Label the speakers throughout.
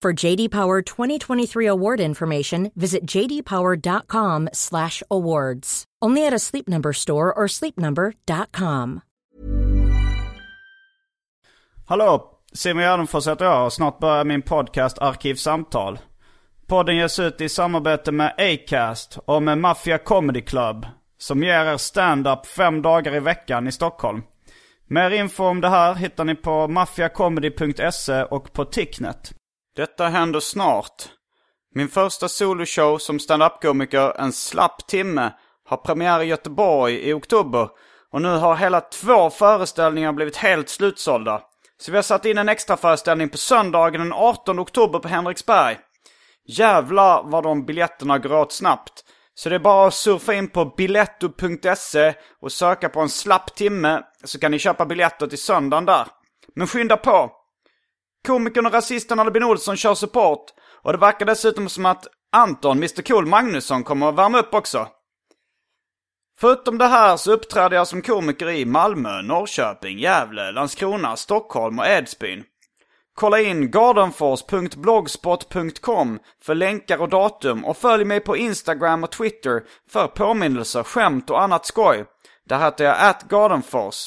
Speaker 1: For JD Power 2023 award information, visit jdpower.com/awards. Only at a Sleep Number store or sleepnumber.com.
Speaker 2: Hallå! Simon Gärdenfors heter jag och snart börjar min podcast Arkivsamtal. Podden ges ut i samarbete med Acast och med Mafia Comedy Club som ger er stand-up fem dagar i veckan i Stockholm. Mer info om det här hittar ni på mafiacomedy.se och på Ticknet. Detta händer snart. Min första soloshow som standup-komiker, En slapp timme, har premiär i Göteborg i oktober. Och nu har hela två föreställningar blivit helt slutsålda. Så vi har satt in en extra föreställning på söndagen den 18 oktober på Henriksberg. Jävlar vad de biljetterna går åt snabbt. Så det är bara att surfa in på biletto.se och söka på en slapp timme så kan ni köpa biljetter till söndagen där. Men skynda på! Komikern och rasisten Albin Olsson kör support och det verkar dessutom som att Anton, Mr Cool Magnusson, kommer att värma upp också. Förutom det här så uppträder jag som komiker i Malmö, Norrköping, Gävle, Landskrona, Stockholm och Edsbyn. Kolla in gardenfors.blogspot.com för länkar och datum och följ mig på Instagram och Twitter för påminnelser, skämt och annat skoj. Där heter jag atgardenfors.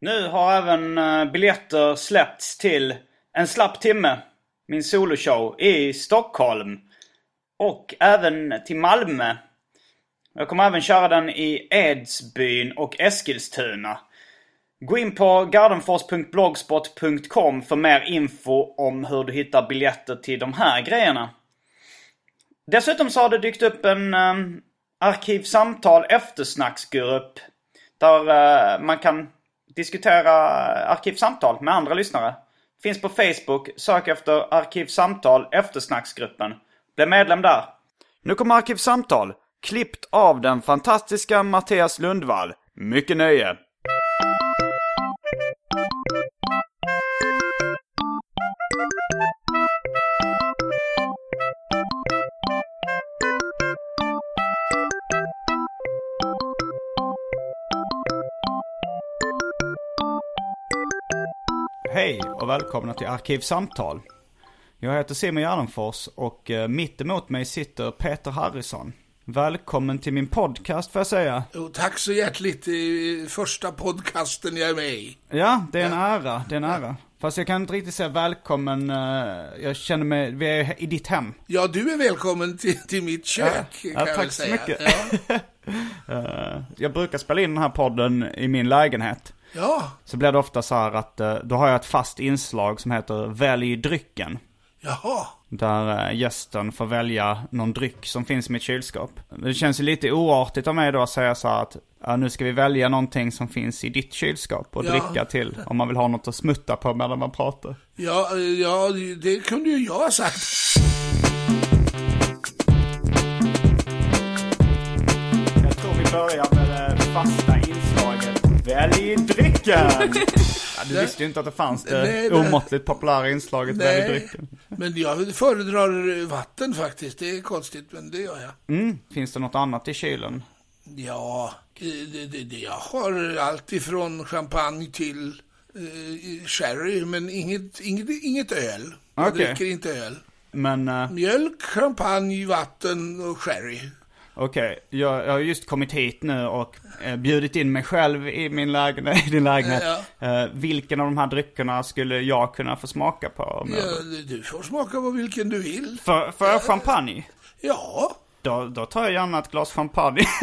Speaker 2: Nu har även eh, biljetter släppts till En slapp timme, min soloshow, i Stockholm. Och även till Malmö. Jag kommer även köra den i Edsbyn och Eskilstuna. Gå in på gardenfors.blogspot.com för mer info om hur du hittar biljetter till de här grejerna. Dessutom så har det dykt upp en eh, arkivsamtal eftersnacksgrupp där eh, man kan diskutera arkivsamtal med andra lyssnare. Finns på Facebook. Sök efter arkivsamtal eftersnacksgruppen. Bli medlem där. Nu kommer Arkivsamtal, klippt av den fantastiska Mattias Lundvall. Mycket nöje! Hej och välkomna till Arkivsamtal. Jag heter Simon Gärdenfors och eh, mitt emot mig sitter Peter Harrison. Välkommen till min podcast får jag säga.
Speaker 3: Jo, tack så hjärtligt. Det är första podcasten jag är med i.
Speaker 2: Ja, det är en ära. Det är en ära. Fast jag kan inte riktigt säga välkommen. eh, Jag känner mig, vi är i ditt hem.
Speaker 3: Ja, du är välkommen till, till mitt kök, kan
Speaker 2: Ja,
Speaker 3: jag väl
Speaker 2: tack så
Speaker 3: säga.
Speaker 2: mycket.
Speaker 3: Ja,
Speaker 2: Eh, Jag brukar spela in den här podden i min lägenhet.
Speaker 3: ja,
Speaker 2: Så blir det ofta så här att eh, då har jag ett fast inslag som heter Välj drycken.
Speaker 3: jaha.
Speaker 2: Där eh, gästen får välja någon dryck som finns i mitt kylskåp. Det känns ju lite oartigt av mig då att säga så här att ja, nu ska vi välja någonting som finns i ditt kylskåp och
Speaker 3: Ja.
Speaker 2: dricka till. Om man vill ha något att smutta på medan man pratar.
Speaker 3: Ja, eh, ja, det kunde ju jag ha sagt.
Speaker 2: Jag tror vi börjar med det fasta inslaget. Välj drycken! Ja, du visste ju inte att det fanns det
Speaker 3: Nej, det-
Speaker 2: omåttligt populära inslaget Välj
Speaker 3: Nej,
Speaker 2: drycken.
Speaker 3: men jag föredrar eh, vatten faktiskt. Det är konstigt, men det gör jag.
Speaker 2: Mm. Finns det något annat i kylen?
Speaker 3: Ja, eh, det, det, det, jag har allt ifrån champagne till eh, sherry, men inget, inget, inget öl. Jag
Speaker 2: Okej.
Speaker 3: dricker inte öl.
Speaker 2: Men eh,
Speaker 3: Mjölk, champagne, vatten och sherry.
Speaker 2: Okej, jag, jag har just kommit hit nu och eh, bjudit in mig själv i min lägenhet. I din lägenhet. Eh, vilken av de här dryckerna skulle jag kunna få smaka på? Om jag...
Speaker 3: Ja, du- du får smaka på vilken du vill.
Speaker 2: Får, får jag champagne?
Speaker 3: Ja,
Speaker 2: Då, då tar jag gärna ett glas champagne.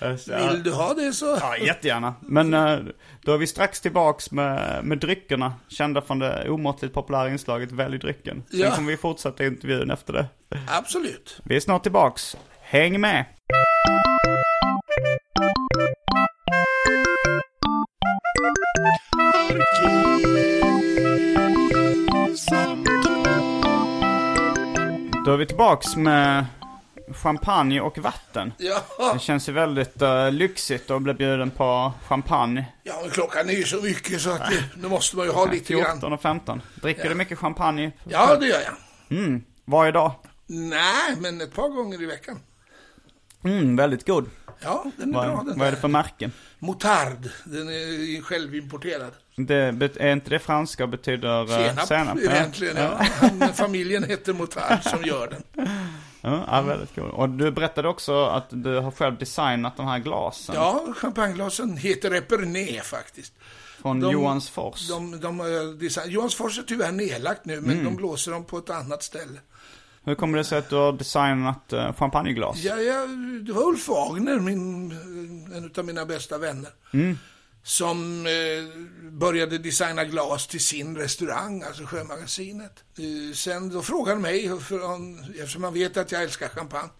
Speaker 2: Så, ja.
Speaker 3: vill du ha det så.
Speaker 2: Ja, jättegärna. Men eh, då är vi strax tillbaks med, med dryckerna, kända från det omåttligt populära inslaget Välj drycken. Sen
Speaker 3: Ja.
Speaker 2: kommer vi fortsätta intervjun efter det.
Speaker 3: Absolut.
Speaker 2: Vi är snart tillbaks. Häng med! Då är vi tillbaks med champagne och vatten.
Speaker 3: Ja,
Speaker 2: Det känns ju väldigt eh, lyxigt att bli bjuden på champagne.
Speaker 3: ja men klockan är ju så mycket så att det, nu måste man ju ha lite grann.
Speaker 2: 14 och 15. Dricker du mycket champagne Mm.
Speaker 3: Ja, det gör jag.
Speaker 2: varje dag?
Speaker 3: Nej, men ett par gånger i veckan.
Speaker 2: Mm, väldigt god.
Speaker 3: Ja, den är bra
Speaker 2: Vad,
Speaker 3: den
Speaker 2: vad är det
Speaker 3: där.
Speaker 2: för märke?
Speaker 3: Motard, den är självimporterad.
Speaker 2: Det, bet- är inte det franska och betyder eh,
Speaker 3: Senap,
Speaker 2: senap? Ja.
Speaker 3: egentligen. Ja. Han, familjen heter Motard som gör den.
Speaker 2: Ja, ja, väldigt god. Och du berättade också att du har själv designat de här glasen
Speaker 3: Ja, champagneglasen heter Epernay faktiskt.
Speaker 2: från
Speaker 3: de-
Speaker 2: Johansfors.
Speaker 3: De, de, eh, har design... Johansfors är tyvärr nedlagt nu,
Speaker 2: Mm.
Speaker 3: men de blåser dem på ett annat ställe.
Speaker 2: Hur kommer det sig att du har designat eh, champagneglas?
Speaker 3: Ja, ja, det var Ulf Wagner, min, en av mina bästa vänner.
Speaker 2: Mm.
Speaker 3: Som eh, började designa glas till sin restaurang, alltså Sjömagasinet. Eh, sen då frågade han mig, för han, eftersom han vet att jag älskar champagne.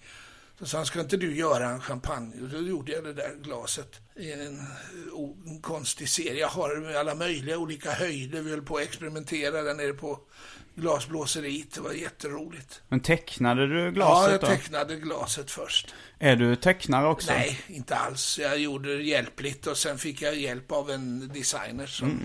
Speaker 3: Så sa han, ska inte du göra en champagne? Och då gjorde jag det där glaset i en, eh, o- en konstig serie. Jag har alla möjliga olika höjder. Vi höll på att experimentera där nere på glasblåseriet. Det var jätteroligt.
Speaker 2: Men tecknade du
Speaker 3: Ja,
Speaker 2: glaset
Speaker 3: jag
Speaker 2: då?
Speaker 3: tecknade glaset först.
Speaker 2: Är du tecknare också?
Speaker 3: Nej, inte alls. Jag gjorde det hjälpligt och sen fick jag hjälp av en designer som,
Speaker 2: Mm.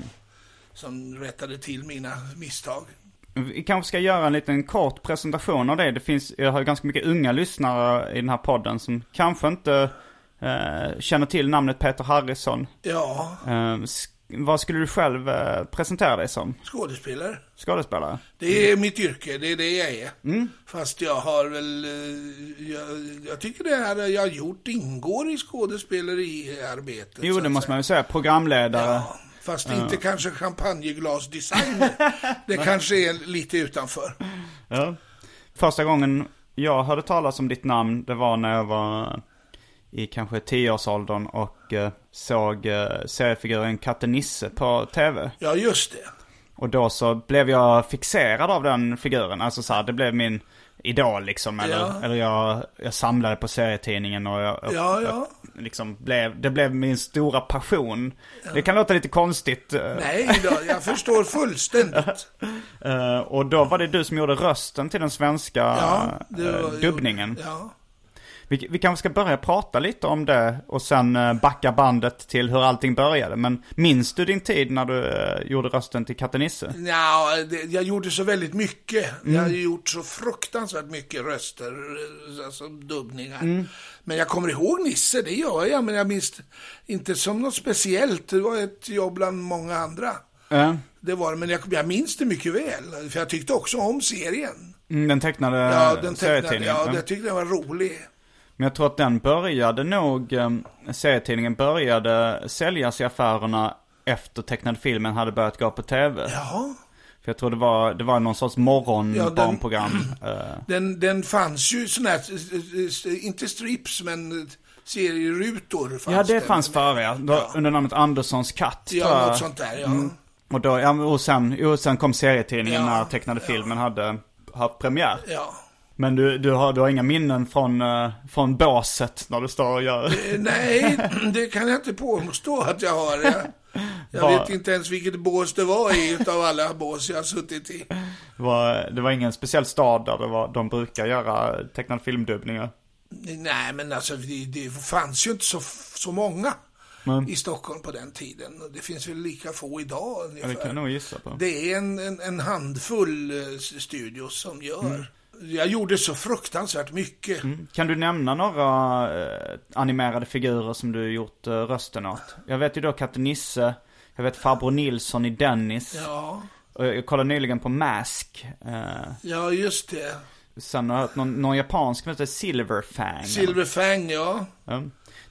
Speaker 3: som rättade till mina misstag.
Speaker 2: Vi kanske ska göra en liten kort presentation av det. Det finns, jag har ju ganska mycket unga lyssnare i den här podden som kanske inte eh, känner till namnet Peter Harrison.
Speaker 3: Ja,
Speaker 2: Eh, sk- vad skulle du själv eh, presentera dig som?
Speaker 3: skådespelare.
Speaker 2: Skådespelare?
Speaker 3: Det är mitt yrke, det är det jag är.
Speaker 2: Mm.
Speaker 3: Fast jag har väl, eh, jag, jag tycker det här jag har gjort ingår i skådespeleriarbetet.
Speaker 2: Jo,
Speaker 3: så
Speaker 2: det
Speaker 3: att
Speaker 2: måste
Speaker 3: säga.
Speaker 2: man ju säga. Programledare.
Speaker 3: Ja, fast inte kanske champagneglasdesigner. det kanske är lite utanför.
Speaker 2: Ja. Första gången jag hörde talas om ditt namn, det var när jag var i kanske tioårsåldern och eh, såg eh, seriefiguren Katte Nisse på tv.
Speaker 3: Ja, just det.
Speaker 2: Och då så blev jag fixerad av den figuren. Alltså så här, det blev min idol liksom. Eller,
Speaker 3: Ja.
Speaker 2: eller jag, jag samlade på serietidningen och jag, jag,
Speaker 3: Ja, ja.
Speaker 2: jag liksom blev, det blev min stora passion. Det kan låta lite konstigt. eh,
Speaker 3: Nej då, jag förstår fullständigt.
Speaker 2: eh, och då var det du som gjorde rösten till den svenska
Speaker 3: Ja, det
Speaker 2: eh,
Speaker 3: var-
Speaker 2: dubbningen.
Speaker 3: Ja.
Speaker 2: Vi, vi kanske ska börja prata lite om det och sen eh, backa bandet till hur allting började. Men minns du din tid när du eh, gjorde rösten till Katte Nisse?
Speaker 3: Nja, det, jag gjorde så väldigt mycket.
Speaker 2: Mm.
Speaker 3: Jag har ju gjort så fruktansvärt mycket röster, eh, alltså dubbningar.
Speaker 2: Mm.
Speaker 3: Men jag kommer ihåg Nisse, det gör jag, men jag minns inte som något speciellt. Det var ett jobb bland många andra.
Speaker 2: Eh,
Speaker 3: Det var det, men jag, jag minns det mycket väl. För jag tyckte också om serien.
Speaker 2: mm, den tecknade
Speaker 3: Ja, den tecknade,
Speaker 2: serietidningen.
Speaker 3: ja,
Speaker 2: Mm.
Speaker 3: jag tyckte den var rolig.
Speaker 2: Men jag tror att den började nog, eh, serietidningen började säljas i affärerna efter tecknade filmen hade börjat gå på tv.
Speaker 3: Ja.
Speaker 2: För jag tror det var, det var någon sorts
Speaker 3: Ja, den-
Speaker 2: morgonbarnprogram. eh,
Speaker 3: Den, den fanns ju sån här, eh, eh, inte strips, men eh, serierutor. Fanns
Speaker 2: ja, det
Speaker 3: den.
Speaker 2: fanns före ja. Då- Under namnet Anderssons katt. tror
Speaker 3: Ja,
Speaker 2: jag.
Speaker 3: något sånt där, ja.
Speaker 2: Mm. Och, då, ja, och, sen, och sen kom serietidningen
Speaker 3: Ja,
Speaker 2: när tecknade filmen hade haft premiär.
Speaker 3: ja.
Speaker 2: Men du, du, har, du har inga minnen från, eh, från båset när du står och gör...
Speaker 3: Eh, Nej, det kan jag inte påstå att jag har. Jag,
Speaker 2: Vad-
Speaker 3: jag vet inte ens vilket bås det var i utav alla bås jag har suttit i.
Speaker 2: Det var, det var ingen speciell stad där det var, de brukar göra tecknade filmdubbningar.
Speaker 3: Nej, men alltså det, det fanns ju inte så, så många i Stockholm på den tiden. Och Det finns väl lika få idag
Speaker 2: Ja,
Speaker 3: ungefär.
Speaker 2: det kan jag nog gissa på.
Speaker 3: Det är en, en, en handfull eh, studios som gör.
Speaker 2: Mm.
Speaker 3: Jag gjorde så fruktansvärt mycket.
Speaker 2: Kan du nämna några eh, animerade figurer som du gjort eh, rösten åt? Jag vet ju då Katte Nisse, jag vet Farbror Nilsson i Dennis.
Speaker 3: Ja,
Speaker 2: Och jag kollade nyligen på Mask. Eh,
Speaker 3: ja, just det.
Speaker 2: Sen har jag hört någon, någon japansk som heter Silverfang.
Speaker 3: Silverfang, ja.
Speaker 2: Ja.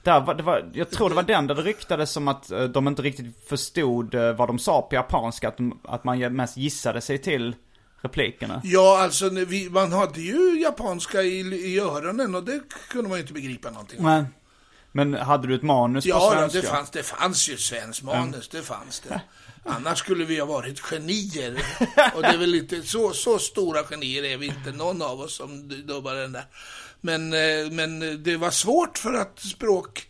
Speaker 2: Där var, det var, jag tror det var den där det ryktades som att eh, de inte riktigt förstod eh, vad de sa på japanska. Att, de, att man mest gissade sig till replikerna.
Speaker 3: Ja, alltså när vi, man hade ju japanska i, i öronen och det kunde man ju inte begripa någonting av.
Speaker 2: Men, men hade du ett manus på
Speaker 3: Ja,
Speaker 2: svenska?
Speaker 3: det fanns, det fanns ju svensk manus, det fanns det. Annars skulle vi ha varit genier. Och det är väl inte, så, så stora genier är vi inte, någon av oss som dubbar den där. Men, eh, men det var svårt för att språk,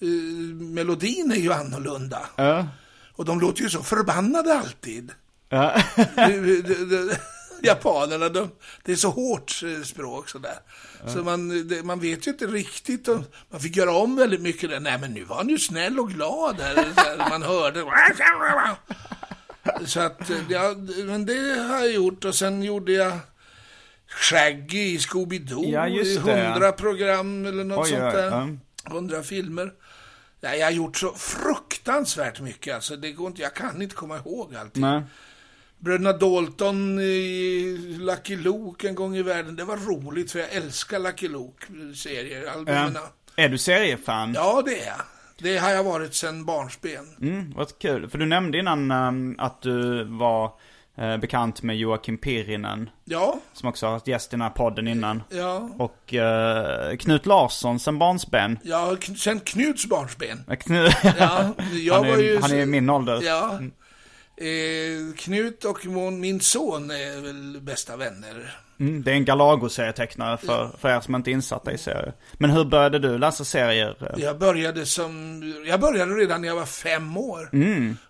Speaker 3: eh, melodin är ju annorlunda.
Speaker 2: Ja.
Speaker 3: Och de låter ju så förbannade alltid.
Speaker 2: Ja.
Speaker 3: Du- du- du- Japanerna, de, det är så hårt eh, språk sådär. Så man, det, man vet ju inte riktigt. Och man fick göra om väldigt mycket där. Nej, men nu var han ju snäll och glad här. Så här, man hörde. Så att, eh, ja, men det har jag gjort. Och sen gjorde jag Shaggy i Scooby-Doo.
Speaker 2: Ja,
Speaker 3: i
Speaker 2: just det.
Speaker 3: hundra program eller något
Speaker 2: Oj,
Speaker 3: sånt
Speaker 2: oj,
Speaker 3: där.
Speaker 2: ja.
Speaker 3: Hundra filmer. Ja, jag har gjort så fruktansvärt mycket. Alltså, det går inte, jag kan inte komma ihåg allt.
Speaker 2: Nej.
Speaker 3: Bröderna Dalton i Lucky Luke en gång i världen. Det var roligt för jag älskar Lucky Luke-serier, albumen.
Speaker 2: Ja. Är du seriefan?
Speaker 3: Ja, det är jag. Det har jag varit sedan barnsben.
Speaker 2: Mm, vad kul. För du nämnde innan ehm, att du var eh, bekant med Joakim Pirinen.
Speaker 3: Ja,
Speaker 2: Som också har varit gäst i den här podden innan.
Speaker 3: ja.
Speaker 2: Och eh, Knut Larsson sen barnsben.
Speaker 3: ja kn- sen Knuts barnsben.
Speaker 2: Eh, Knu-
Speaker 3: Ja, jag
Speaker 2: han, är,
Speaker 3: var ju
Speaker 2: han är
Speaker 3: så-
Speaker 2: min ålder. Mm.
Speaker 3: Ja. Eh, Knut och mon, min son är väl bästa vänner.
Speaker 2: Mm, det är en Galago-serietecknare för, för er som inte är insatta i serier. Men hur började du läsa serier?
Speaker 3: Jag började, som, jag började redan när jag var fem år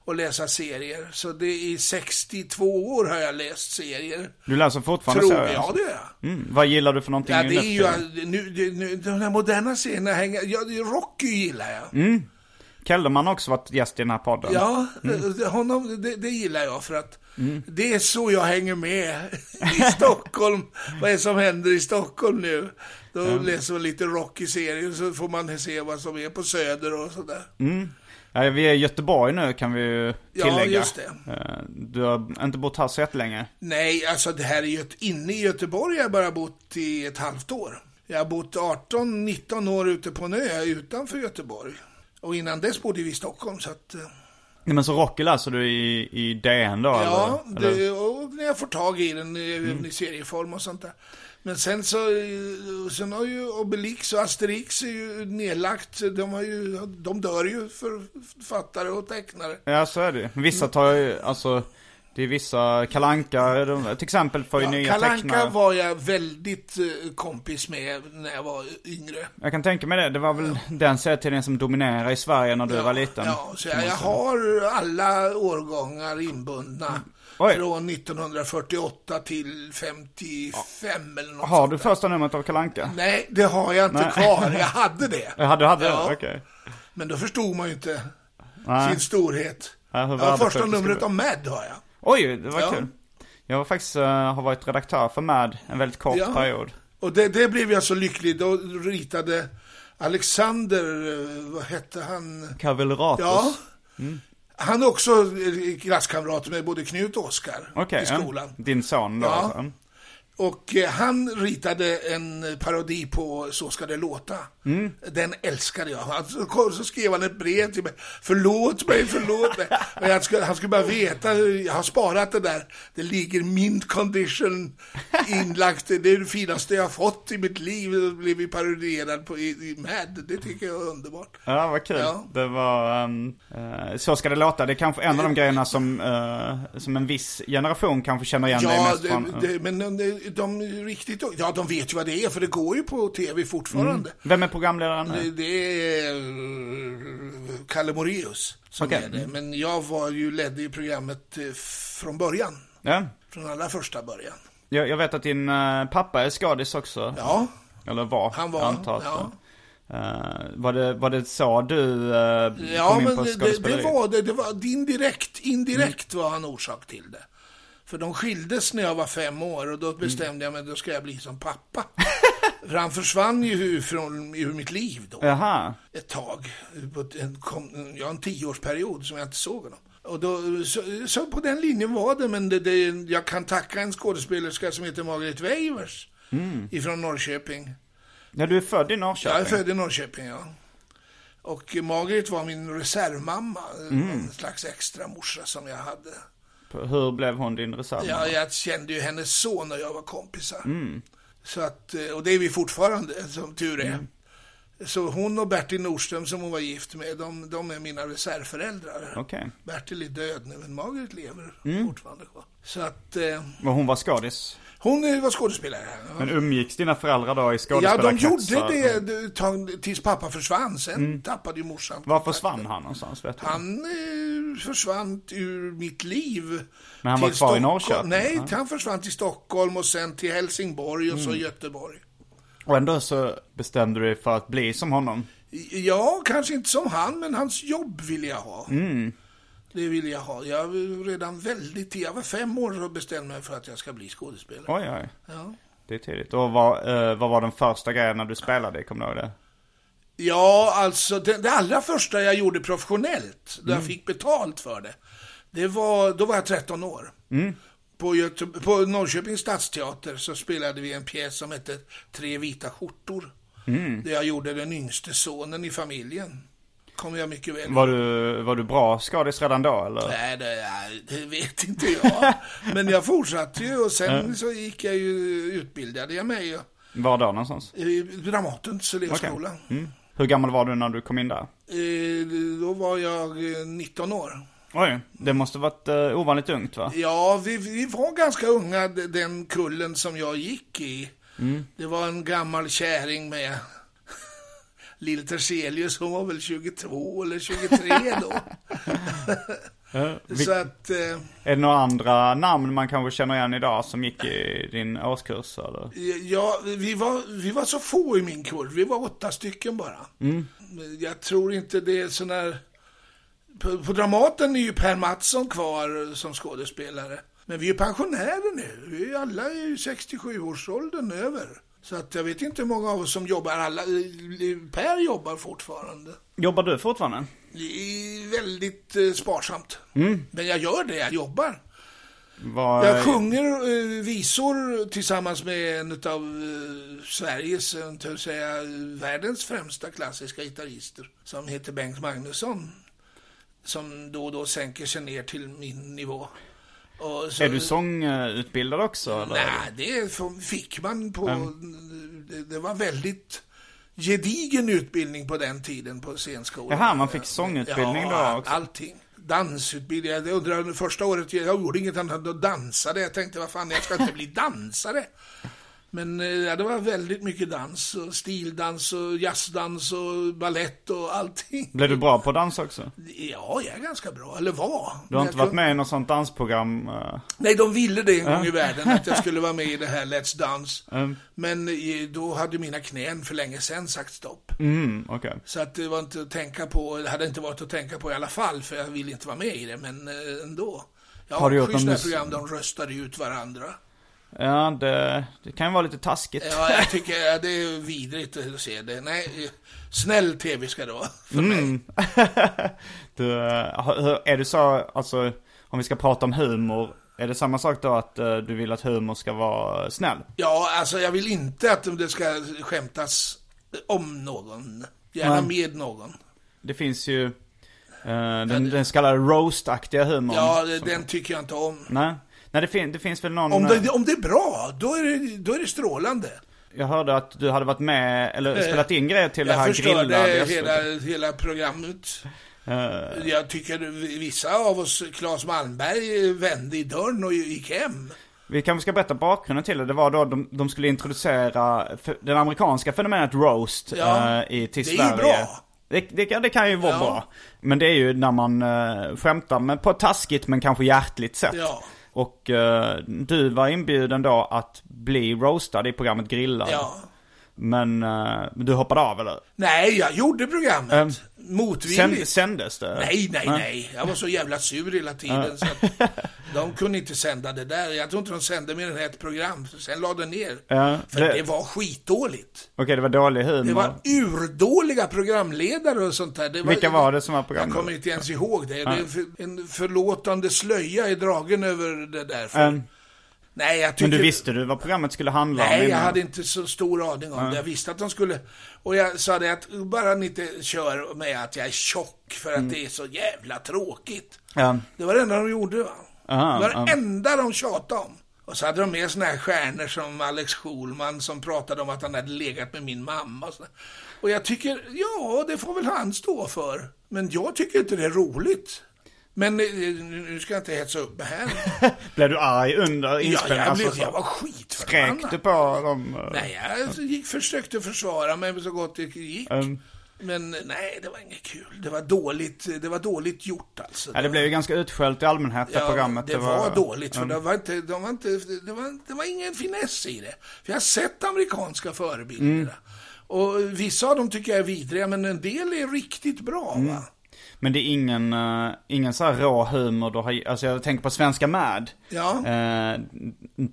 Speaker 3: och läsa serier. Så det är i 62 år har jag läst serier.
Speaker 2: Du läser fortfarande
Speaker 3: Tror
Speaker 2: serier?
Speaker 3: jag det.
Speaker 2: Mm, vad gillar du för någonting
Speaker 3: Ja, det är
Speaker 2: nu
Speaker 3: ju,
Speaker 2: för tiden?
Speaker 3: all- nu, det- nu, de här moderna scenerna hänger, ja, det- Rocky gillar jag.
Speaker 2: Kellerman har också varit gäst i den här podden.
Speaker 3: Ja, det- honom, det, det gillar jag för att det är så jag hänger med i Stockholm. vad är det som händer i Stockholm nu? Då läser man lite Rocky-serier så får man se vad som är på Söder och sådär.
Speaker 2: Ja, vi är i Göteborg nu kan vi ju
Speaker 3: Ja,
Speaker 2: tillägga.
Speaker 3: just det.
Speaker 2: Eh, Du har inte bott här så jättelänge.
Speaker 3: Nej, alltså det här är ju ett, inne i Göteborg har jag bara bott i ett halvt år. Jag har bott 18-19 år ute på en ö utanför Göteborg. Och innan dess bodde vi i Stockholm så att... eh,
Speaker 2: Nej, men så Rocky läser du i, i DN då?
Speaker 3: Ja,
Speaker 2: eller? Eller? Mm.
Speaker 3: det, och när jag får tag i den eh, även i serieform och sånt där. Men sen så, eh, sen har ju Obelix och Asterix är ju nedlagt. De, har ju, de dör ju för författare och tecknare.
Speaker 2: Ja, så är det ju. Vissa tar ju, alltså, det är vissa kalanka de, till exempel får ju
Speaker 3: Ja,
Speaker 2: nya
Speaker 3: Kalanka
Speaker 2: tecknare.
Speaker 3: var jag väldigt eh, kompis med när jag var yngre.
Speaker 2: Jag kan tänka mig det, det var väl den serietidningen som dominerade i Sverige när du var liten.
Speaker 3: Ja, så jag, jag har alla årgångar inbundna.
Speaker 2: Mm. Oj.
Speaker 3: Från 1948 till 55 eller något
Speaker 2: Har
Speaker 3: sånt
Speaker 2: du
Speaker 3: där.
Speaker 2: första numret av kalanka?
Speaker 3: Nej, det har jag inte
Speaker 2: Nej.
Speaker 3: kvar. Jag hade det.
Speaker 2: Ja, du hade
Speaker 3: Ja.
Speaker 2: det? Okej.
Speaker 3: Men då förstod man ju inte
Speaker 2: Nej.
Speaker 3: sin storhet.
Speaker 2: Ja, hur
Speaker 3: Ja,
Speaker 2: värdefullt det
Speaker 3: första
Speaker 2: skulle
Speaker 3: numret
Speaker 2: vara.
Speaker 3: av Mad har jag.
Speaker 2: Oj, det var
Speaker 3: Ja.
Speaker 2: kul. Jag var faktiskt, eh, har varit redaktör för MAD en väldigt kort
Speaker 3: Ja.
Speaker 2: period.
Speaker 3: Och det, det blev jag så lycklig. Då ritade Alexander, eh, vad hette han?
Speaker 2: Kavilleratus.
Speaker 3: Ja.
Speaker 2: Mm.
Speaker 3: Han är också eh, klasskamrat med både Knut och Oskar
Speaker 2: Okej,
Speaker 3: i
Speaker 2: ja.
Speaker 3: skolan.
Speaker 2: din son då.
Speaker 3: Ja.
Speaker 2: alltså.
Speaker 3: Och eh, han ritade en parodi på Så ska det låta.
Speaker 2: Mm.
Speaker 3: Den älskade jag. Han, så kom- så skrev han ett brev till mig. Förlåt mig, förlåt mig. Men han, skulle, han skulle bara veta, hur- jag har sparat det där. Det ligger mint condition inlagt. Det är det finaste jag har fått i mitt liv. Jag blev ju parodierad på, i, i Mad. Det tycker jag är underbart.
Speaker 2: Ja, vad kul.
Speaker 3: Ja.
Speaker 2: Det var, ehm, eh, så ska det låta. Det är kanske en av de grejerna som, eh, som en viss generation kanske känner igen dig
Speaker 3: Ja,
Speaker 2: mest
Speaker 3: det,
Speaker 2: från.
Speaker 3: det, men de, de, är riktigt, ja, de vet ju vad det är, för det går ju på tv fortfarande.
Speaker 2: Vem är programledaren?
Speaker 3: Det, det är eh, Kalle Moreus som
Speaker 2: Okej.
Speaker 3: är det. Men jag var ju, ledde ju programmet eh, från början.
Speaker 2: Ja.
Speaker 3: Från allra första början.
Speaker 2: Jag, jag vet att din eh, pappa är skadis också.
Speaker 3: Ja,
Speaker 2: Eller var.
Speaker 3: Han var,
Speaker 2: jag antar att,
Speaker 3: ja.
Speaker 2: eh, var, det, var det så du eh,
Speaker 3: ja
Speaker 2: kom in
Speaker 3: men
Speaker 2: på
Speaker 3: det, det, det
Speaker 2: skådespeleri? Mm.
Speaker 3: var det. Det var indirekt, indirekt var han orsak till det. För de skildes när jag var fem år
Speaker 2: Mm.
Speaker 3: och då bestämde jag mig, då ska jag bli som pappa. För han försvann ju från, ur mitt liv då.
Speaker 2: Jaha.
Speaker 3: ett tag. På ett- en, kom, ja, en tioårsperiod som jag inte såg honom. Och då, så, så på den linjen var det, men det, det, jag kan tacka en skådespelerska som heter Margaret Weivers ifrån Norrköping.
Speaker 2: Ja, du är född i Norrköping.
Speaker 3: Jag är född i Norrköping, ja. Och Margaret var min reservmamma, en slags extra morsa som jag hade.
Speaker 2: Hur blev hon din reserv?
Speaker 3: Ja, jag kände ju hennes son när jag var kompisar. Så att, eh, och det är vi fortfarande, som tur är. Så hon och Bertil Nordström som hon var gift med, de, de är mina reservföräldrar.
Speaker 2: Okej.
Speaker 3: Bertil är död nu, men Margaret lever fortfarande kvar. Så att, eh,
Speaker 2: Men hon var skådis?
Speaker 3: hon eh, var skådespelare. här. Ja.
Speaker 2: Men umgicks dina föräldrar då i
Speaker 3: Ja, de
Speaker 2: skådespelarkretsar?
Speaker 3: gjorde det ett tag tills pappa försvann. Sen tappade ju morsan
Speaker 2: Var försvann han någonstans? Vet du?
Speaker 3: Han eh, försvann ur mitt liv.
Speaker 2: Men han var
Speaker 3: till
Speaker 2: kvar i
Speaker 3: Stockholm-
Speaker 2: Norrköping?
Speaker 3: Nej,
Speaker 2: Ja.
Speaker 3: han försvann till Stockholm och sen till Helsingborg och så
Speaker 2: Mm.
Speaker 3: Göteborg.
Speaker 2: Och ändå så bestämde du dig för att bli som honom.
Speaker 3: Ja, kanske inte som han, men hans jobb ville jag ha.
Speaker 2: Mm.
Speaker 3: Det ville jag ha. Jag var redan väldigt tidigt, jag var fem år så bestämde jag mig för att jag ska bli skådespelare.
Speaker 2: Oj, oj.
Speaker 3: Ja.
Speaker 2: Det är tidigt. Och vad, eh, vad var den första grejen när du spelade? Kommer du ihåg det?
Speaker 3: Ja, alltså det, det allra första jag gjorde professionellt, då
Speaker 2: Mm.
Speaker 3: jag fick betalt för det, det var, då var jag 13 år.
Speaker 2: Mm.
Speaker 3: På, Göte, på Norrköpings stadsteater så spelade vi en pjäs som hette Tre vita skjortor.
Speaker 2: Mm.
Speaker 3: Där jag gjorde den yngste sonen i familjen. Kommer jag mycket väl
Speaker 2: Var du, var du bra skådis redan då eller?
Speaker 3: Nej, det, nej, det vet inte jag. Men jag fortsatte ju och sen så gick jag ju, utbildade jag mig ju,
Speaker 2: Var då någonstans?
Speaker 3: i Dramatens elevskola.
Speaker 2: Mm. Hur gammal var du när du kom in där?
Speaker 3: Eh, Då var jag eh, 19 år.
Speaker 2: Oj, det måste varit eh, ovanligt ungt va?
Speaker 3: Ja, vi, vi var ganska unga, d- den kullen som jag gick i. Det var en gammal kärring med Lill Terselius, hon var väl 22 eller 23 då. Så att... Eh,
Speaker 2: Är det några andra namn man kanske känner igen idag som gick i din årskurs eller?
Speaker 3: Ja, vi var, vi var så få i min kull. Vi var åtta stycken bara. Jag tror inte det är sån här... På, på Dramaten är ju Per Mattsson kvar som skådespelare. Men vi är ju pensionärer nu. Vi är ju alla i 67-årsåldern över. Så att jag vet inte hur många av oss som jobbar. Alla, eh, per jobbar fortfarande.
Speaker 2: Jobbar du fortfarande?
Speaker 3: Det är väldigt eh, sparsamt. Men jag gör det, jag jobbar.
Speaker 2: Var,
Speaker 3: Jag sjunger eh, visor tillsammans med en av eh, Sveriges, eh, inte att säga eh, världens främsta klassiska gitarrister som heter Bengt Magnusson. Som då och då sänker sig ner till min nivå. Och så,
Speaker 2: Är du sångutbildad också eller?
Speaker 3: Nej, det f- fick man på... Det, det var väldigt gedigen utbildning på den tiden på scenskolan.
Speaker 2: Jaha, man fick sångutbildning
Speaker 3: ja,
Speaker 2: då också?
Speaker 3: allting. Dansutbildning. Jag undrar, första året jag gjorde inget annat än att dansade. Jag tänkte, vad fan, jag ska inte bli dansare. Men eh, ja, det var väldigt mycket dans, och stildans och jazzdans och ballett och allting.
Speaker 2: Blev du bra på dans också?
Speaker 3: Ja, jag är ganska bra, eller var.
Speaker 2: Du har inte varit med i något sånt dansprogram? eh?
Speaker 3: Nej, de ville det en gång i världen, att jag skulle vara med i det här Let's Dance.
Speaker 2: Mm.
Speaker 3: Men eh, då hade mina knän för länge sedan sagt stopp.
Speaker 2: Mm, okej.
Speaker 3: Så att det var inte att tänka på, det hade inte varit att tänka på i alla fall, för jag ville inte vara med i det, men eh, ändå. Jag
Speaker 2: Har
Speaker 3: har
Speaker 2: du gjort
Speaker 3: gjort
Speaker 2: någon
Speaker 3: det här
Speaker 2: mus-
Speaker 3: program, de röstade ut varandra.
Speaker 2: Ja, det, det kan ju vara lite taskigt.
Speaker 3: Ja, jag tycker ja, det är vidrigt att se det. Nej, eh, snäll tv ska det vara. För
Speaker 2: Mm.
Speaker 3: mig.
Speaker 2: Du, eh, har- hur- är det så, alltså, om vi ska prata om humor, är det samma sak då att eh, du vill att humor ska vara snäll?
Speaker 3: Ja, alltså jag vill inte att det ska skämtas om någon. Gärna med någon.
Speaker 2: Det finns ju eh, den, den så kallade roast-aktiga humorn.
Speaker 3: Ja, det- den tycker jag inte om.
Speaker 2: Nej, Nej det, fin, det finns väl någon...
Speaker 3: Om
Speaker 2: eh,
Speaker 3: det, om det är bra, då är det, då är det strålande.
Speaker 2: Jag hörde att du hade varit med, eller spelat in grejer till det
Speaker 3: Eh, Jag
Speaker 2: här grillad
Speaker 3: förstörde
Speaker 2: i
Speaker 3: hela,
Speaker 2: SVT.
Speaker 3: hela programmet.
Speaker 2: Eh.
Speaker 3: Jag tycker vissa av oss, Claes Malmberg, vände i dörren och gick hem.
Speaker 2: Vi kanske ska berätta bakgrunden till det. Det var då de, de skulle introducera f- den amerikanska fenomenet roast
Speaker 3: Ja,
Speaker 2: eh, i, till
Speaker 3: det är ju
Speaker 2: Sverige.
Speaker 3: bra.
Speaker 2: Det, det, kan- det kan ju vara
Speaker 3: Ja.
Speaker 2: bra. Men det är ju när man eh, skämtar men på ett taskigt men kanske hjärtligt sätt.
Speaker 3: Ja.
Speaker 2: Och eh, du var inbjuden då att bli roastad i programmet Grillad.
Speaker 3: Ja.
Speaker 2: Men eh, du hoppade av eller?
Speaker 3: Nej, jag gjorde programmet.
Speaker 2: Ehm, Sänd,
Speaker 3: Motvilligt.
Speaker 2: sändes det?
Speaker 3: Nej, nej, nej. Jag var så jävla sur hela tiden så att de kunde inte sända det där. Jag tror inte de sände mer än ett program. Sen lade de ner.
Speaker 2: Ja,
Speaker 3: För
Speaker 2: det-
Speaker 3: det var skitdåligt.
Speaker 2: Okej, det var dålig humor.
Speaker 3: Det var urdåliga programledare och sånt där. Det
Speaker 2: Vilka var det som var programledare?
Speaker 3: Jag kommer inte ens ihåg det. det är en för- en förlåtande slöja är dragen över det där. För
Speaker 2: Ehm,
Speaker 3: Nej, jag tycker...
Speaker 2: Men du visste du vad programmet skulle handla om?
Speaker 3: Nej, jag
Speaker 2: innan?
Speaker 3: hade inte så stor aning om det. Jag visste att de skulle... Och jag sa det att bara ni inte kör med att jag är tjock för att det är så jävla tråkigt.
Speaker 2: Mm. Ja.
Speaker 3: Det var det enda de gjorde va?
Speaker 2: Aha,
Speaker 3: det var det enda de tjatade om. Och så hade de med såna här stjärnor som Alex Schulman som pratade om att han hade legat med min mamma och, så. och jag tycker, ja det får väl han stå för. Men jag tycker inte det är roligt. Men eh, nu ska jag inte hetsa upp mig här.
Speaker 2: Blev du arg under
Speaker 3: Ja,
Speaker 2: inspelningen?
Speaker 3: jag, blev,
Speaker 2: Alltså, så-
Speaker 3: jag var skitförbannad.
Speaker 2: Skrek du på dem? eh,
Speaker 3: Nej, jag alltså gick, försökte försvara mig så gott det gick.
Speaker 2: ehm,
Speaker 3: Men nej, det var inget kul. Det var dåligt, det var dåligt gjort alltså.
Speaker 2: Ja, det blev ju ganska utskällt i allmänhet det
Speaker 3: Ja,
Speaker 2: programmet.
Speaker 3: det var, dåligt, för
Speaker 2: ehm,
Speaker 3: det, var inte, de var inte, det, var, det var ingen finess i det. För jag har sett amerikanska förebilder. Och vissa av dem tycker jag är vidriga, men en del är riktigt bra. Va?
Speaker 2: Men det är ingen, eh, ingen så här rå humor du har, alltså jag tänker på Svenska Mad.
Speaker 3: Ja.
Speaker 2: Eh,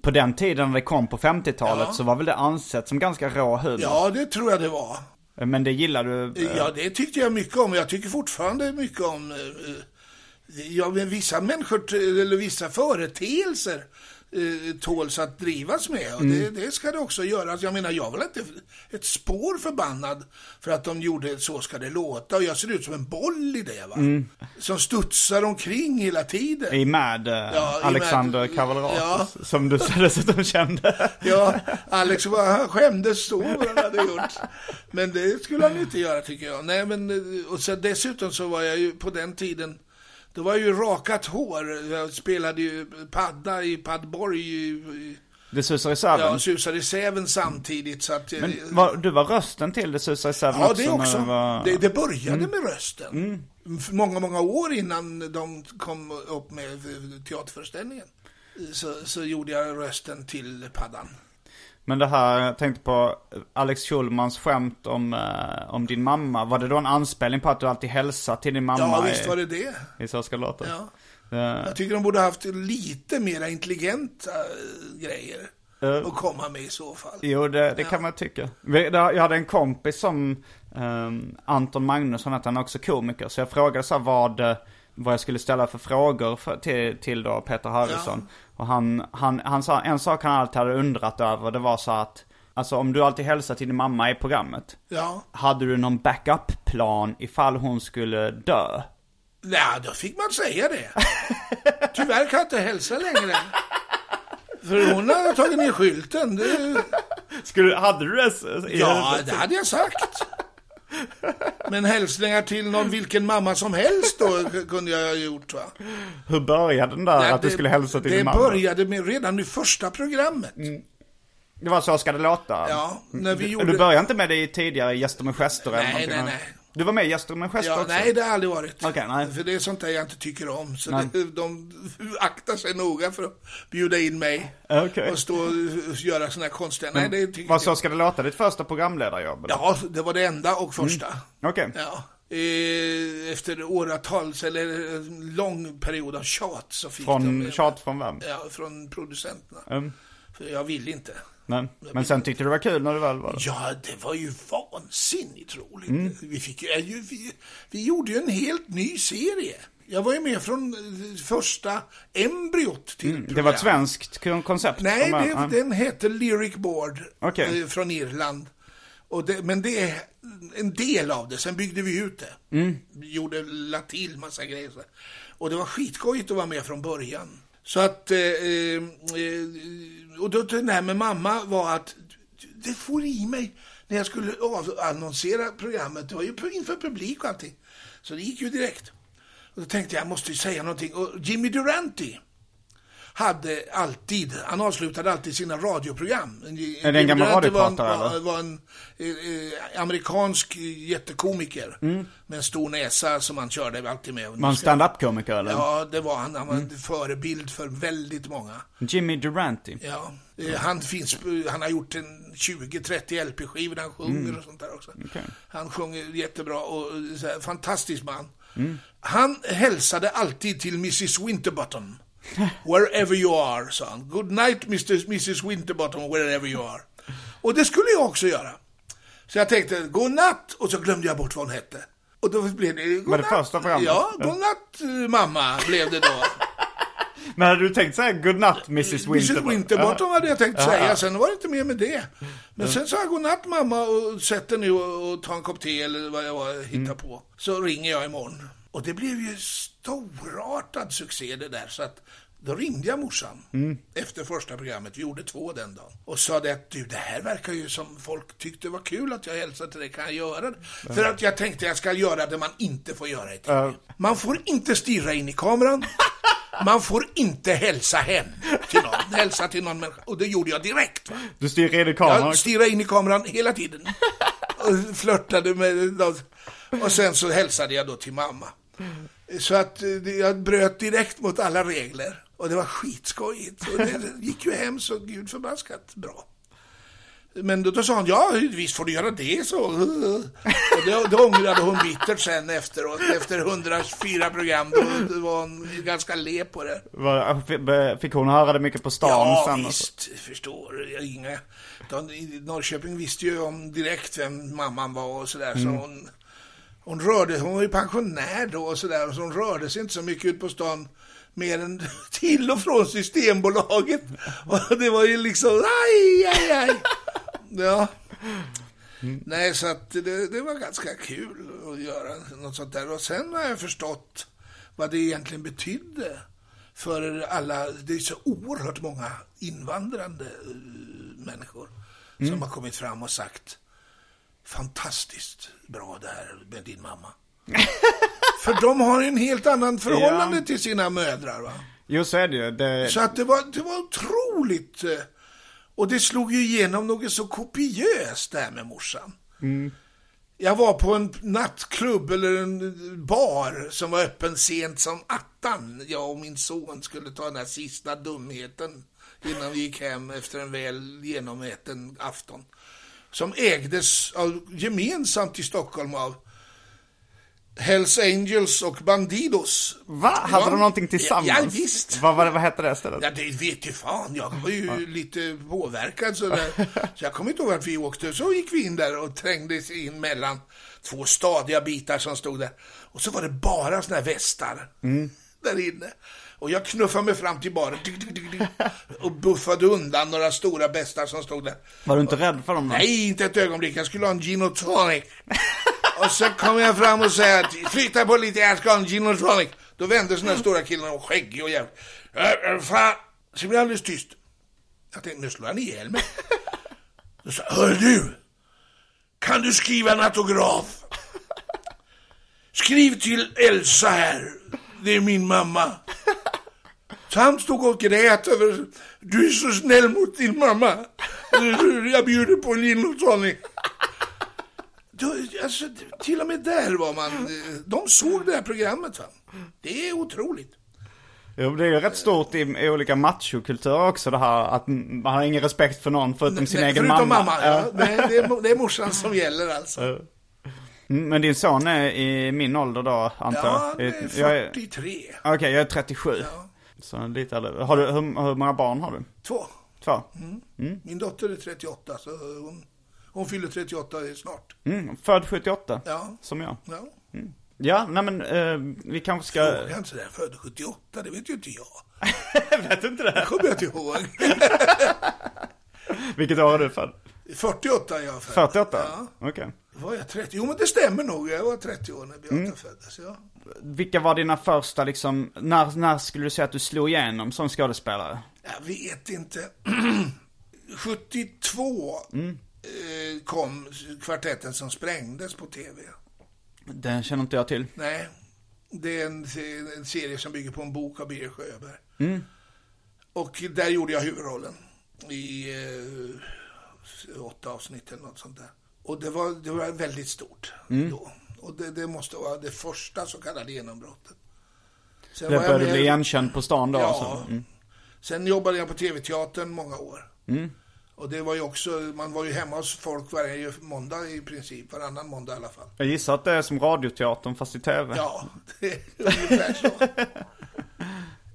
Speaker 2: på den tiden när det kom på 50-talet så var väl det ansett som ganska rå humor.
Speaker 3: Ja, det tror jag det var.
Speaker 2: Eh, Men det gillar du? eh,
Speaker 3: Ja, det tyckte jag mycket om. Jag tycker fortfarande mycket om eh, eh, ja, men vissa människor, t- eller vissa företeelser eh, tåls att drivas med. Och det, det ska det också göras. Jag menar, jag var inte ett spår förbannad för att de gjorde Så ska det låta. Och jag ser ut som en boll i det, va? Som studsar omkring hela tiden.
Speaker 2: I Mad, eh,
Speaker 3: Ja, i
Speaker 2: Alexander
Speaker 3: Mad.
Speaker 2: Kavalleratos.
Speaker 3: Ja.
Speaker 2: Som du dessutom kände.
Speaker 3: Ja, Alex var, han skämdes så vad han hade gjort. Men det skulle han inte göra tycker jag. Nej, men, eh, och sen dessutom så var jag ju på den tiden, då var jag ju rakat hår. Jag spelade ju padda i Padborg, i- i-
Speaker 2: Det susar i Säven.
Speaker 3: ja, susade i Säven samtidigt. Så att, eh,
Speaker 2: Men var, du var rösten till Det susar i Säven
Speaker 3: ja,
Speaker 2: också?
Speaker 3: det
Speaker 2: när
Speaker 3: också.
Speaker 2: du var-
Speaker 3: Det, det började med rösten. F- Många, många år innan de kom upp med eh, teaterföreställningen. eh, Så, så gjorde jag rösten till paddan.
Speaker 2: Men det här, jag tänkte på Alex Schulmans skämt om, eh, om din mamma. Var det då en anspelning på att du alltid hälsar till din mamma?
Speaker 3: Ja, visst
Speaker 2: i-
Speaker 3: var det det.
Speaker 2: I Så ska det låta.
Speaker 3: Ja.
Speaker 2: Eh,
Speaker 3: Jag tycker de borde haft lite mera intelligenta eh, grejer
Speaker 2: Eh.
Speaker 3: att komma med i så fall.
Speaker 2: Jo, det, det kan man tycka. Vi- det- Jag hade en kompis som, ehm, Anton Magnusson hette han, också komiker. Så jag frågade så här vad, eh, vad jag skulle ställa för frågor för, till, till då Peter Harrison. Och han, han, han sa, en sak han alltid hade undrat över, det var så att, alltså om du alltid hälsar till din mamma i programmet,
Speaker 3: Ja.
Speaker 2: hade du någon backup-plan ifall hon skulle dö?
Speaker 3: Nej, då fick man säga det. Tyvärr kan jag inte hälsa längre. För hon hade tagit ner skylten. Det,
Speaker 2: Skulle, hade du det? så- i
Speaker 3: ja,
Speaker 2: huvudet?
Speaker 3: det hade jag sagt. Men hälsningar till någon, vilken mamma som helst då kunde jag ha gjort va.
Speaker 2: Hur började den där
Speaker 3: Nej,
Speaker 2: att du skulle hälsa till
Speaker 3: Det
Speaker 2: din mamma?
Speaker 3: började med redan i första programmet.
Speaker 2: Det var så ska det låta?
Speaker 3: Ja, när vi
Speaker 2: Du-
Speaker 3: gjorde...
Speaker 2: Du började inte med det i tidigare Gäster med gester eller
Speaker 3: Nej,
Speaker 2: någonting?
Speaker 3: nej,
Speaker 2: va?
Speaker 3: nej.
Speaker 2: Du var med i Gäster med gester
Speaker 3: Ja,
Speaker 2: också?
Speaker 3: nej, det har aldrig varit.
Speaker 2: Okej, nej.
Speaker 3: För det är sånt där jag inte tycker om. Så
Speaker 2: Nej.
Speaker 3: det, de aktar sig noga för att bjuda in mig
Speaker 2: Eh, Okej.
Speaker 3: och stå och göra såna här konstiga... Nej, det tycker
Speaker 2: Var så
Speaker 3: jag.
Speaker 2: ska det låta ditt första programledarjobb? eller?
Speaker 3: Ja, det var det enda och
Speaker 2: Mm.
Speaker 3: första.
Speaker 2: Okej.
Speaker 3: Ja. Eh, Efter åratals, eller en lång period av tjat så fick
Speaker 2: Från
Speaker 3: de...
Speaker 2: tjat från vem?
Speaker 3: Ja, från producenterna.
Speaker 2: Mm.
Speaker 3: För jag ville inte.
Speaker 2: Men, men sen tyckte du det Mm. var kul när du väl var där.
Speaker 3: Ja, det var ju vansinnigt roligt. Vi, fick, ju- ja, ju- vi, vi gjorde ju en helt ny serie. Jag var ju med från eh, första embryot till
Speaker 2: Mm, Det var ett
Speaker 3: programmet.
Speaker 2: svenskt kon- koncept?
Speaker 3: Nej,
Speaker 2: från början.
Speaker 3: det, den hette Lyric Board
Speaker 2: Okej.
Speaker 3: eh, från Irland. Och det, men det är en del av det, sen byggde vi ut det. Vi gjorde, la till massa grejer. så. Och det var skitskojigt att vara med från början. Så att, eh, eh, eh, och då det här med mamma var att, det får i mig när jag skulle avannonsera programmet. Det var ju inför publik och allting. Så det gick ju direkt. Och då tänkte jag, jag måste ju säga någonting. Och Jimmy Durante hade alltid, han avslutade alltid sina radioprogram.
Speaker 2: Är det en gammal
Speaker 3: Durante
Speaker 2: radiopratare,
Speaker 3: var en,
Speaker 2: eller?
Speaker 3: var en eh, eh, amerikansk jättekomiker med en stor näsa som han körde alltid med.
Speaker 2: Mm. Var han stand-up-komiker eller?
Speaker 3: Ja, det var han. Han var en förebild för väldigt många.
Speaker 2: Jimmy Durante.
Speaker 3: Ja. Eh, Han, finns, han har gjort en 20-30 LP-skivor där han sjunger och sånt där också. Han sjunger jättebra och eh, så här, fantastisk man. Han hälsade alltid till Mrs Winterbottom. Wherever you are, sa han. Good night Mr. Mrs Winterbottom, wherever you are. Och det skulle jag också göra. Så jag tänkte, godnatt, och så glömde jag bort vad hon hette. Och då blev det,
Speaker 2: det första programmet?
Speaker 3: Ja, godnatt eh, mamma blev det då.
Speaker 2: Men hade du tänkt så här, godnatt Mrs Winterbottom?
Speaker 3: Mrs Winterbottom hade jag tänkt säga, sen var det inte mer med det. Men sen sa jag godnatt mamma och sätt dig nu och, och ta en kopp te eller vad jag var- hittar på. Så ringer jag imorgon. Och det blev ju storartad succé det där. Så att då ringde jag morsan efter första programmet, vi gjorde två den dagen. Och sa det att du, det här verkar ju som folk tyckte var kul att jag hälsade till dig, kan jag göra det? För att jag tänkte jag ska göra det man inte får göra i TV. Man får inte stirra in i kameran. Man får inte hälsa hem till någon. Hälsa till någon människa. Och det gjorde jag direkt. Va?
Speaker 2: Du styr in i kameran.
Speaker 3: Jag stirrade in i kameran hela tiden. Och flörtade med dem. Och sen så hälsade jag då till mamma. Så att eh, det- jag bröt direkt mot alla regler. Och det var skitskojigt. Och det gick ju hem så gud förbaskat bra. Men då, då sa hon, ja visst får du göra det så. Och det, det ångrade hon bittert sen efteråt. Efter 104 program, då, då var hon ganska le på det.
Speaker 2: Var- ah, Fick hon höra det mycket på stan
Speaker 3: Ja,
Speaker 2: sen? alltså? och så?
Speaker 3: visst. Förstår. Jag inga. De, i Norrköping visste ju om direkt vem mamman var och sådär.
Speaker 2: Mm.
Speaker 3: Så hon, hon rörde Hon var ju pensionär då och sådär. Så hon rörde sig inte så mycket ut på stan. Mer än till och från Systembolaget. Och det var ju liksom aj, aj, aj. Ja. Nej, så att det, det var ganska kul att göra något sånt där. Och sen har jag förstått vad det egentligen betydde för alla. Det är så oerhört många invandrande eh, människor som har kommit fram och sagt fantastiskt bra det här med din mamma. för de har ju en helt annan förhållande
Speaker 2: Ja.
Speaker 3: till sina mödrar. Va?
Speaker 2: Jo, så är det ju. Det...
Speaker 3: Så att det var, det var otroligt. eh, Och det slog ju igenom något så kopiöst där med morsan.
Speaker 2: Mm.
Speaker 3: Jag var på en nattklubb eller en bar som var öppen sent som attan. Jag och min son skulle ta den här sista dumheten innan vi gick hem efter en väl genomäten afton. Som ägdes av, gemensamt i Stockholm av Hells Angels och Bandidos.
Speaker 2: Va? Hade
Speaker 3: Ja.
Speaker 2: de någonting tillsammans?
Speaker 3: Ja, ja, visst.
Speaker 2: Vad, vad, vad hette det stället?
Speaker 3: Ja, det vet ju fan. Jag var ju lite påverkad sådär. Så jag kommer inte ihåg att vi åkte. Så gick vi in där och trängdes in mellan två stadiga bitar som stod där. Och så var det bara såna här västar där inne. Och jag knuffade mig fram till baren tick, tick, tick, tick, och buffade undan några stora bästar som stod där.
Speaker 2: Var du inte rädd för dem? då?
Speaker 3: Nej, inte ett ögonblick. Jag skulle ha en gin och tonic. Och så kom jag fram och sa att flytta på lite, jag ska ha en gin och tonic. Då vände sig den här stora killen och skäggig och jävlig. Äh, äh, Fan, så blev jag alldeles tyst. Jag tänkte, nu slår han ihjäl mig. Då sa jag, hör du, kan du skriva en autograf? Skriv till Elsa här, det är min mamma. Så han stod och grät över, du är så snäll mot din mamma. Jag bjuder på en gin och tonic. Då, alltså, till och med där var man, eh, de såg det här programmet va. Det är otroligt.
Speaker 2: Jo, det är ju rätt stort i, i olika machokulturer också det här att m- man har ingen respekt för någon förutom sin
Speaker 3: Nej,
Speaker 2: egen
Speaker 3: förutom
Speaker 2: mamma.
Speaker 3: mamma. ja. Nej, det, är, mo- det är morsan som gäller alltså.
Speaker 2: Mm, Men din son är i min ålder då, antar
Speaker 3: Ja,
Speaker 2: jag?
Speaker 3: det
Speaker 2: I-
Speaker 3: är
Speaker 2: jag är-
Speaker 3: 43.
Speaker 2: Okej, jag är 37. Så lite äldre. Har du, hur, hur många barn har du?
Speaker 3: Två.
Speaker 2: Två?
Speaker 3: Mm.
Speaker 2: Mm.
Speaker 3: Min dotter är 38, så hon, hon fyller 38 snart.
Speaker 2: Mm, född 78,
Speaker 3: Ja.
Speaker 2: som jag.
Speaker 3: Ja.
Speaker 2: Ja, nej men eh, vi kanske ska...
Speaker 3: Fråga inte sådär, född 78, det vet ju inte jag.
Speaker 2: vet inte det.
Speaker 3: kommer jag inte ihåg.
Speaker 2: Vilket år är du född?
Speaker 3: 48 är jag född.
Speaker 2: 48?
Speaker 3: Ja.
Speaker 2: Okej.
Speaker 3: Var jag 30? Jo, men det stämmer nog. Jag var 30 år när Beata
Speaker 2: Mm.
Speaker 3: föddes. Ja.
Speaker 2: Vilka var dina första liksom, när, när skulle du säga att du slog igenom som skådespelare?
Speaker 3: Jag vet inte. 72
Speaker 2: Mm.
Speaker 3: eh, kom kvartetten som sprängdes på tv.
Speaker 2: Den känner inte jag till.
Speaker 3: Nej, det är en, se- en serie som bygger på en bok av Birger Sjöberg.
Speaker 2: Mm.
Speaker 3: Och där gjorde jag huvudrollen i eh, åtta avsnitt eller något sånt där. Och det var, det var väldigt stort
Speaker 2: Mm.
Speaker 3: då. Och det, det måste vara det första så kallade genombrottet. Sen
Speaker 2: Där
Speaker 3: var jag
Speaker 2: började du
Speaker 3: med-
Speaker 2: bli igenkänd på stan då?
Speaker 3: Ja.
Speaker 2: alltså. Mm.
Speaker 3: Sen jobbade jag på TV-teatern många år. Och det var ju också, man var ju hemma hos folk varje måndag i princip, varannan måndag i alla fall.
Speaker 2: Jag gissar att det är som radioteatern fast i tv.
Speaker 3: Ja, det är ungefär så.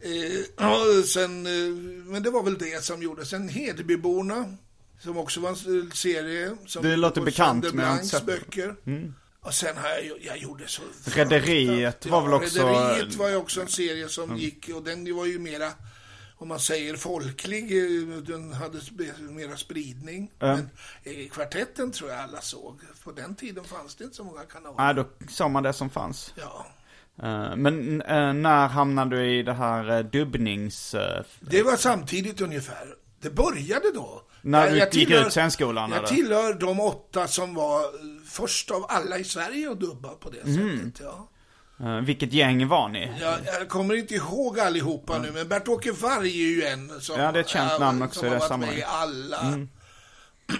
Speaker 3: Eh, ja, sen, eh, men det var väl det som gjorde. Sen Hedebyborna, som också var en s- serie. Som
Speaker 2: Det låter
Speaker 3: och
Speaker 2: bekant,
Speaker 3: Sander
Speaker 2: men jag har
Speaker 3: Blanks
Speaker 2: inte sett det. Mm.
Speaker 3: böcker. Och sen har jag, ju- jag gjorde så...
Speaker 2: Rederiet
Speaker 3: fruktansvärt-
Speaker 2: var väl också- Mm.
Speaker 3: Rederiet var ju också en serie som gick, och den var ju mera om man säger folklig, eh, den hade sp- mera spridning. Men eh, kvartetten tror jag alla såg. På den tiden fanns det inte så många kanaler.
Speaker 2: Nej, då såg man det som fanns.
Speaker 3: Ja.
Speaker 2: Eh, Men eh, när hamnade du i det här eh, dubbnings... eh,
Speaker 3: Det var samtidigt ungefär. Det började då.
Speaker 2: När
Speaker 3: Jag-
Speaker 2: du
Speaker 3: jag
Speaker 2: gick ut sen skolan,
Speaker 3: Jag
Speaker 2: eller?
Speaker 3: tillhör de åtta som var eh, först av alla i Sverige att dubba på det
Speaker 2: Mhm.
Speaker 3: sättet. Ja.
Speaker 2: eh, vilket gäng var ni?
Speaker 3: Jag, jag kommer inte ihåg allihopa nu, men Bert-Åke Varg är ju en som,
Speaker 2: Ja, det är ett känt namn
Speaker 3: äh,
Speaker 2: också
Speaker 3: som
Speaker 2: i
Speaker 3: har
Speaker 2: det
Speaker 3: varit
Speaker 2: sammanhanget. Mm.
Speaker 3: med i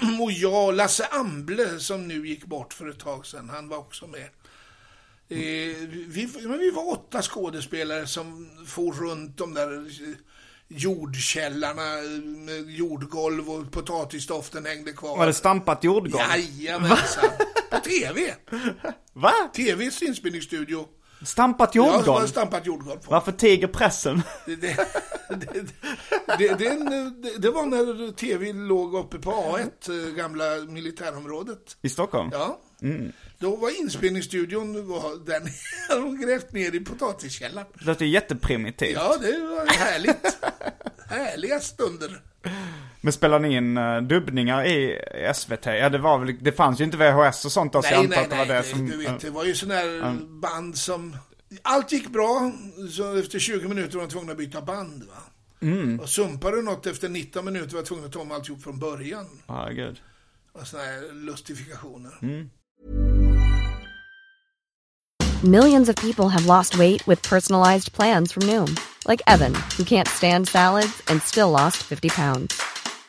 Speaker 3: alla. Och jag, Lasse Amble, som nu gick bort för ett tag sedan, han var också med. Eh, vi, men vi var åtta skådespelare som for runt de där eh, jordkällarna eh, med jordgolv och potatisdoften hängde kvar.
Speaker 2: Var det stampat jordgolv?
Speaker 3: Jajamensan! På TV!
Speaker 2: Va?
Speaker 3: TVs inspelningsstudio.
Speaker 2: Stampat
Speaker 3: Jag har
Speaker 2: jordgolv?
Speaker 3: stampat jordgolv på.
Speaker 2: Varför tiger pressen?
Speaker 3: Det, det, det, det, det, är en- det, det var när tv låg uppe på A1, eh, gamla militärområdet.
Speaker 2: I Stockholm?
Speaker 3: Ja.
Speaker 2: Mm.
Speaker 3: Då var inspelningsstudion var där nere. De grävt ner i potatiskällaren.
Speaker 2: Det låter ju jätteprimitivt.
Speaker 3: Ja, det var härligt. Härliga stunder.
Speaker 2: Men spelade ni in eh, dubbningar i SVT? Ja, det var väl, det fanns ju inte VHS och sånt då, så jag
Speaker 3: Nej,
Speaker 2: antar
Speaker 3: nej,
Speaker 2: att det var
Speaker 3: nej.
Speaker 2: det
Speaker 3: Det,
Speaker 2: som...
Speaker 3: du vet, det var ju sån här band som... Allt gick bra, så efter 20 minuter var de tvungna att byta band. Va?
Speaker 2: Mm.
Speaker 3: Och sumpade du något efter 19 minuter var jag tvungen att ta om alltihop från början.
Speaker 2: Ja, gud.
Speaker 3: och såna här lustifikationer.
Speaker 2: Mm.
Speaker 4: Millions of people have lost weight with personalized plans from Noom, like Evan, who can't stand salads and still lost 50 pounds.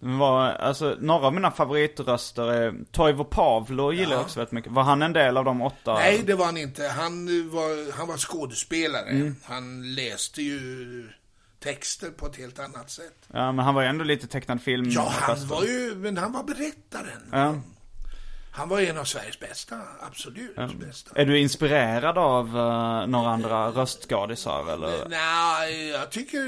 Speaker 2: Men Var, alltså, några av mina favoritröster är Toivo Pavlo gillar jag också väldigt mycket. Var han en del av de åtta?
Speaker 3: Nej, det var han inte. Han eh, var, han var skådespelare.
Speaker 2: Mm.
Speaker 3: Han läste ju texter på ett helt annat sätt.
Speaker 2: Ja, men han var ju ändå lite tecknad film.
Speaker 3: Ja, han
Speaker 2: Mm. fast-
Speaker 3: var ju, men han var berättaren.
Speaker 2: Ja.
Speaker 3: Han var en av Sveriges bästa, absolut bästa.
Speaker 2: Är du inspirerad av eh, några andra röstskådisar eller?
Speaker 3: Nej, jag tycker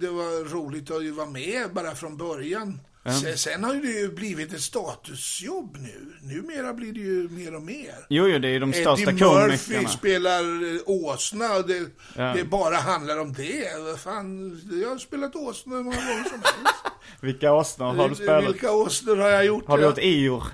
Speaker 3: det var roligt att ju vara med bara från början. Sen, sen har det ju blivit ett statusjobb nu. Numera blir det ju mer och mer.
Speaker 2: Jo, jo, det är ju de största
Speaker 3: Eh, Eddie Murphy
Speaker 2: komikerna.
Speaker 3: spelar eh, åsna och det, det bara handlar om det. Vad Fan, jag har spelat åsna hur många gånger som helst. Eh,
Speaker 2: Vilka åsnor har du spelat?
Speaker 3: Vilka åsnor har jag gjort?
Speaker 2: Har du
Speaker 3: Ja.
Speaker 2: gjort Ior?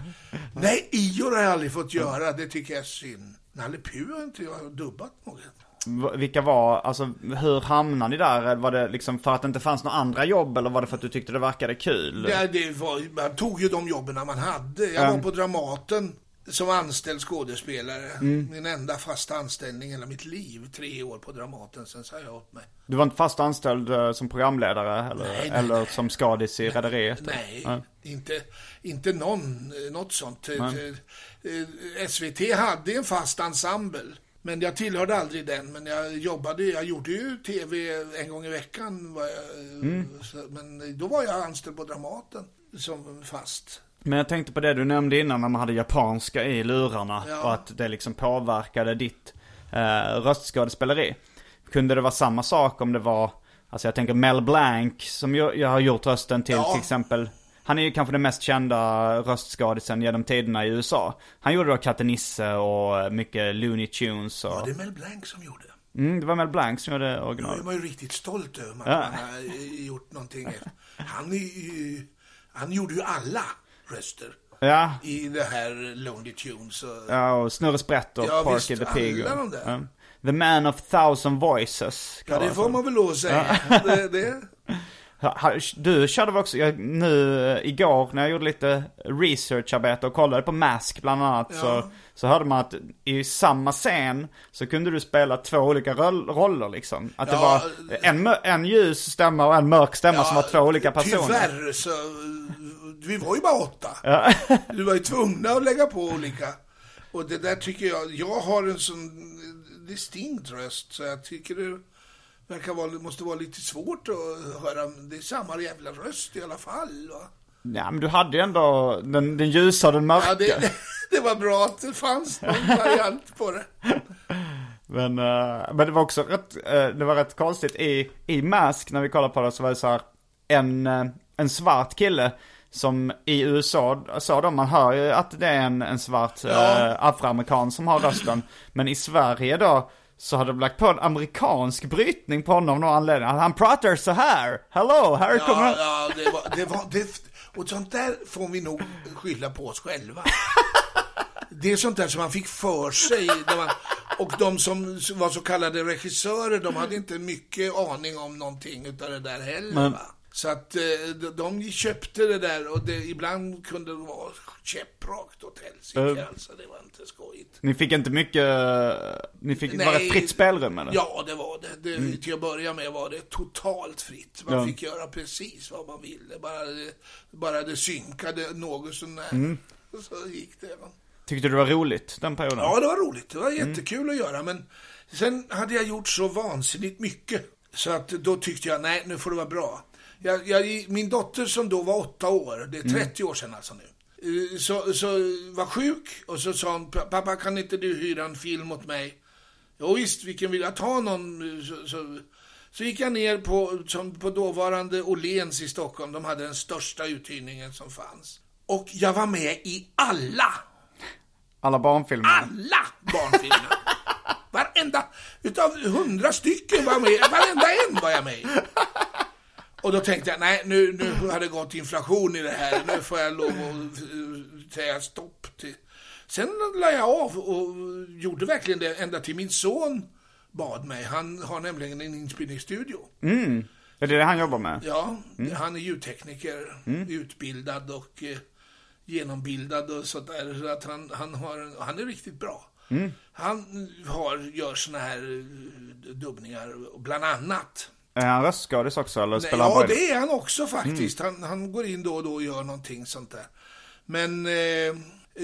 Speaker 3: Nej, Ior har jag aldrig fått göra. Det tycker jag är synd. Nalle Puh har inte jag dubbat något.
Speaker 2: V- Vilka var, alltså hur hamnade ni där? Var det liksom för att det inte fanns några andra jobb eller var det för att du tyckte det verkade kul?
Speaker 3: Det, det var, man tog ju de jobben man hade. Jag var på Dramaten som anställd skådespelare.
Speaker 2: Mm.
Speaker 3: Min enda fasta anställning hela mitt liv. Tre år på Dramaten, sen sa jag upp mig.
Speaker 2: Du var inte fast anställd eh, som programledare eller,
Speaker 3: Nej, nej,
Speaker 2: eller
Speaker 3: nej.
Speaker 2: som skadis i Rederiet?
Speaker 3: Nej, inte, inte någon, eh, något sånt. Eh, eh, SVT hade en fast ensemble. Men jag tillhörde aldrig den, men jag jobbade, jag gjorde ju TV en gång i veckan. Var jag, eh, så, men då var jag anställd på Dramaten som fast.
Speaker 2: Men jag tänkte på det du nämnde innan när man hade japanska i lurarna
Speaker 3: Ja.
Speaker 2: och att det liksom påverkade ditt eh, röstskådespeleri. Kunde det vara samma sak om det var, alltså jag tänker Mel Blanc som jag, jag har gjort rösten till
Speaker 3: Ja.
Speaker 2: till exempel. Han är ju kanske den mest kända röstskådisen genom tiderna i USA. Han gjorde då Katte Nisse och mycket Looney Tunes och...
Speaker 3: Var det Mel Blanc som gjorde?
Speaker 2: Mm, det var Mel Blanc som gjorde
Speaker 3: Ja,
Speaker 2: original.
Speaker 3: jag var ju riktigt stolt över att
Speaker 2: Ja.
Speaker 3: han har eh, gjort någonting. efter. Han, är ju, han gjorde ju alla röster
Speaker 2: Ja,
Speaker 3: i det här Lonely Tunes. Och,
Speaker 2: ja och Snurre Sprätt och
Speaker 3: Ja,
Speaker 2: Porky
Speaker 3: visst,
Speaker 2: the Pig.
Speaker 3: alla
Speaker 2: Och,
Speaker 3: de där.
Speaker 2: ja. The Man of Thousand Voices.
Speaker 3: ja, det
Speaker 2: kallas
Speaker 3: får
Speaker 2: han.
Speaker 3: man väl lov att säga. Det, det.
Speaker 2: Ha- ha- Du körde väl också, jag, nu eh, igår när jag gjorde lite researcharbete och kollade på Mask bland annat så, så hörde man att i samma scen så kunde du spela två olika roll, roller liksom. Att det
Speaker 3: Ja.
Speaker 2: var en, mö- en ljus stämma och en mörk stämma som var två olika personer.
Speaker 3: Tyvärr så, vi var ju bara åtta. Du var ju tvungna att lägga på olika. Och det där tycker jag, jag har en sån distinkt röst så jag tycker det verkar vara, måste vara lite svårt att höra, det är samma jävla röst i alla fall. Va?
Speaker 2: Ja men du hade ju ändå den, den ljusa och den mörka.
Speaker 3: Ja, det, det var bra att det fanns någon variant på det.
Speaker 2: Men, eh, men det var också rätt, eh, det var rätt konstigt i, i Mask när vi kollade på det så var det så här en, eh, en svart kille som i USA sa de, man hör ju att det är en, en svart eh, afroamerikan som har rösten. Men i Sverige då så hade de lagt på en amerikansk brytning på honom av någon anledning. Han pratar så här, hello, här kommer
Speaker 3: Ja, ja det var, det var det, och sånt där får vi nog skylla på oss själva. Det är sånt där som man fick för sig. När man, och de som var så kallade regissörer, de hade inte mycket aning om någonting utav det där heller. Va? Så att eh, de- de köpte det där och det, ibland kunde det vara käpprakt åt helsike. Alltså, det var inte skojigt.
Speaker 2: Ni fick inte mycket, eh, ni fick, var det
Speaker 3: Nej.
Speaker 2: fritt spelrum eller? Mm.
Speaker 3: Ja, det var det. det Till att börja med var det totalt fritt. Man
Speaker 2: Ja.
Speaker 3: fick göra precis vad man ville. Bara det, bara det synkade något sånär.
Speaker 2: Mm.
Speaker 3: Så gick det. va.
Speaker 2: Tyckte du det var roligt den perioden?
Speaker 3: Ja, det var roligt. Det var jättekul att göra. Men sen hade jag gjort så vansinnigt mycket. Så att då tyckte jag, nej, nu får det vara bra. Jag, jag, min dotter som då var åtta år, det är 30 år sedan alltså nu. eh, Så, så var sjuk och så sa hon, pappa kan inte du hyra en film åt mig? Jo, visst, vilken vill jag ta någon? eh, Så, så, så gick jag ner på, som på dåvarande Åhléns i Stockholm. De hade den största uthyrningen som fanns. Och jag var med i alla
Speaker 2: Alla barnfilmer?
Speaker 3: alla barnfilmer. Varenda, utav hundra stycken var jag med varenda en var jag med i. Och då tänkte jag, nej nu, nu har det gått inflation i det här, nu får jag lov att eh, säga stopp. Till. Sen la jag av och gjorde verkligen det ända till min son bad mig. Han har nämligen en inspelningsstudio.
Speaker 2: Är det det han jobbar med?
Speaker 3: Ja,
Speaker 2: Mm.
Speaker 3: han är ljudtekniker, utbildad och eh, genombildad och sånt där. Så att han, han, har, en- han är riktigt bra.
Speaker 2: Mm.
Speaker 3: Han har, gör såna här eh, dubbningar, bland annat.
Speaker 2: Är han röstskådis också eller
Speaker 3: Nej,
Speaker 2: spelar han Mm.
Speaker 3: ja,
Speaker 2: bara-
Speaker 3: det är han också faktiskt. Han, han går in då och då och gör någonting sånt där. Men eh,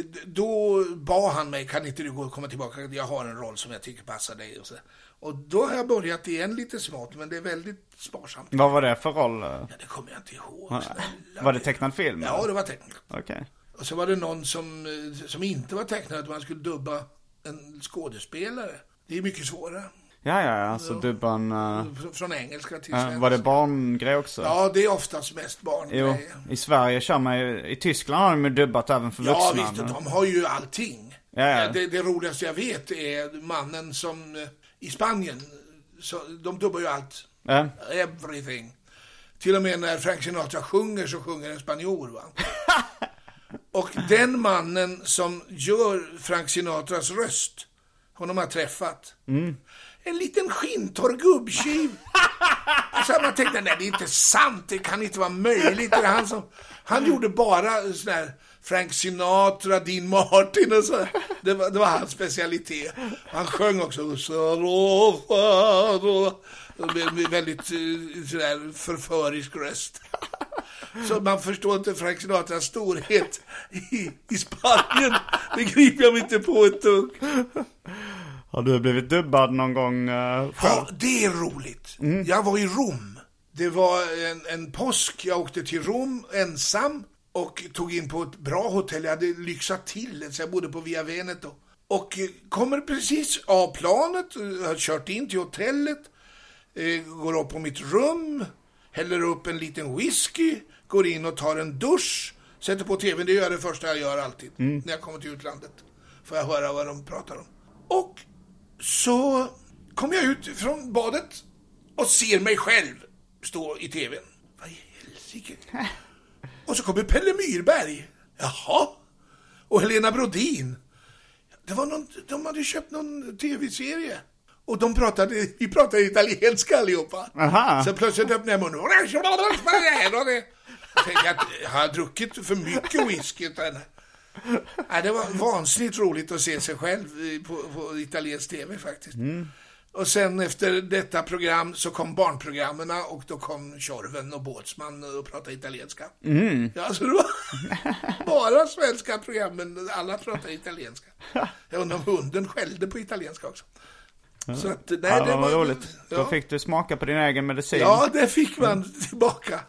Speaker 3: d- då bad han mig, kan inte du gå och komma tillbaka? Jag har en roll som jag tycker passar dig. Och, så. och då har jag börjat igen lite smart, men det är väldigt sparsamt.
Speaker 2: Vad var det för roll? eh?
Speaker 3: Ja, det kommer jag inte ihåg. snälla.
Speaker 2: Var det tecknad film?
Speaker 3: Ja, det var tecknat.
Speaker 2: Okej.
Speaker 3: Och så var det någon som, eh, som inte var tecknad, utan man skulle dubba en skådespelare. Det är mycket svårare.
Speaker 2: Ja, ja, ja, så dubban... eh,
Speaker 3: Fr- Från engelska till
Speaker 2: eh,
Speaker 3: svenska.
Speaker 2: var det barngrej också?
Speaker 3: Ja, det är oftast mest
Speaker 2: Jo,
Speaker 3: barngrejer.
Speaker 2: i Sverige kör man ju, i Tyskland har de ju dubbat även för
Speaker 3: Ja,
Speaker 2: vuxna.
Speaker 3: visst,
Speaker 2: men-
Speaker 3: de har ju allting.
Speaker 2: Ja, ja.
Speaker 3: Eh, Det, det roligaste jag vet är mannen som eh, i Spanien, så, de dubbar ju allt.
Speaker 2: Ja.
Speaker 3: Everything. Till och med när Frank Sinatra sjunger så sjunger en spanjor. Va? och den mannen som gör Frank Sinatras röst, honom har jag träffat.
Speaker 2: Mm.
Speaker 3: En liten skinntorr gubbtjuv. Alltså man tänkte, nej det är inte sant, det kan inte vara möjligt. Det är han, som, han gjorde bara sån här Frank Sinatra, Dean Martin och så. Det var, det var hans specialitet. Han sjöng också. "Sarofa-ro." Med, med väldigt eh, sådär förförisk röst. Så man förstår inte Frank Sinatras storhet i, i Spanien. Det griper jag mig inte på ett dugg.
Speaker 2: Har du blivit dubbad någon gång eh, själv?
Speaker 3: Ja, det är roligt. Jag var i Rom. Det var en, en påsk, jag åkte till Rom ensam och tog in på ett bra hotell. Jag hade lyxat till det, så jag bodde på Via Veneto. Och eh, kommer precis av planet, eh, har kört in till hotellet, eh, går upp på mitt rum, häller upp en liten whisky, går in och tar en dusch, sätter på tvn. Det gör jag det första jag gör alltid när jag kommer till utlandet. Får jag höra vad de pratar om. Och så kommer jag ut från badet och ser mig själv stå i TVn. Vad i helsike? Och så kommer Pelle Myrberg. Jaha? Och Helena Brodin. Det var någon, de hade köpt någon tv-serie. Och de pratade, vi pratade italienska allihopa.
Speaker 2: Aha.
Speaker 3: Så plötsligt öppnade jag munnen. Jag tänkte att jag har druckit för mycket whisky. utan- Nej, det var vansinnigt roligt att se sig själv i- på, på italiensk tv faktiskt.
Speaker 2: Mm.
Speaker 3: Och sen efter detta program så kom barnprogrammen och då kom Tjorven och Båtsman och pratade italienska.
Speaker 2: Mm.
Speaker 3: Ja, så det var bara svenska program, men alla pratade italienska. Jag undrar om hunden skällde på italienska också. Så att, nej,
Speaker 2: Ja,
Speaker 3: det
Speaker 2: vad
Speaker 3: var
Speaker 2: roligt. Då
Speaker 3: Ja.
Speaker 2: fick Mm. du smaka på din egen medicin.
Speaker 3: ja, det fick man tillbaka.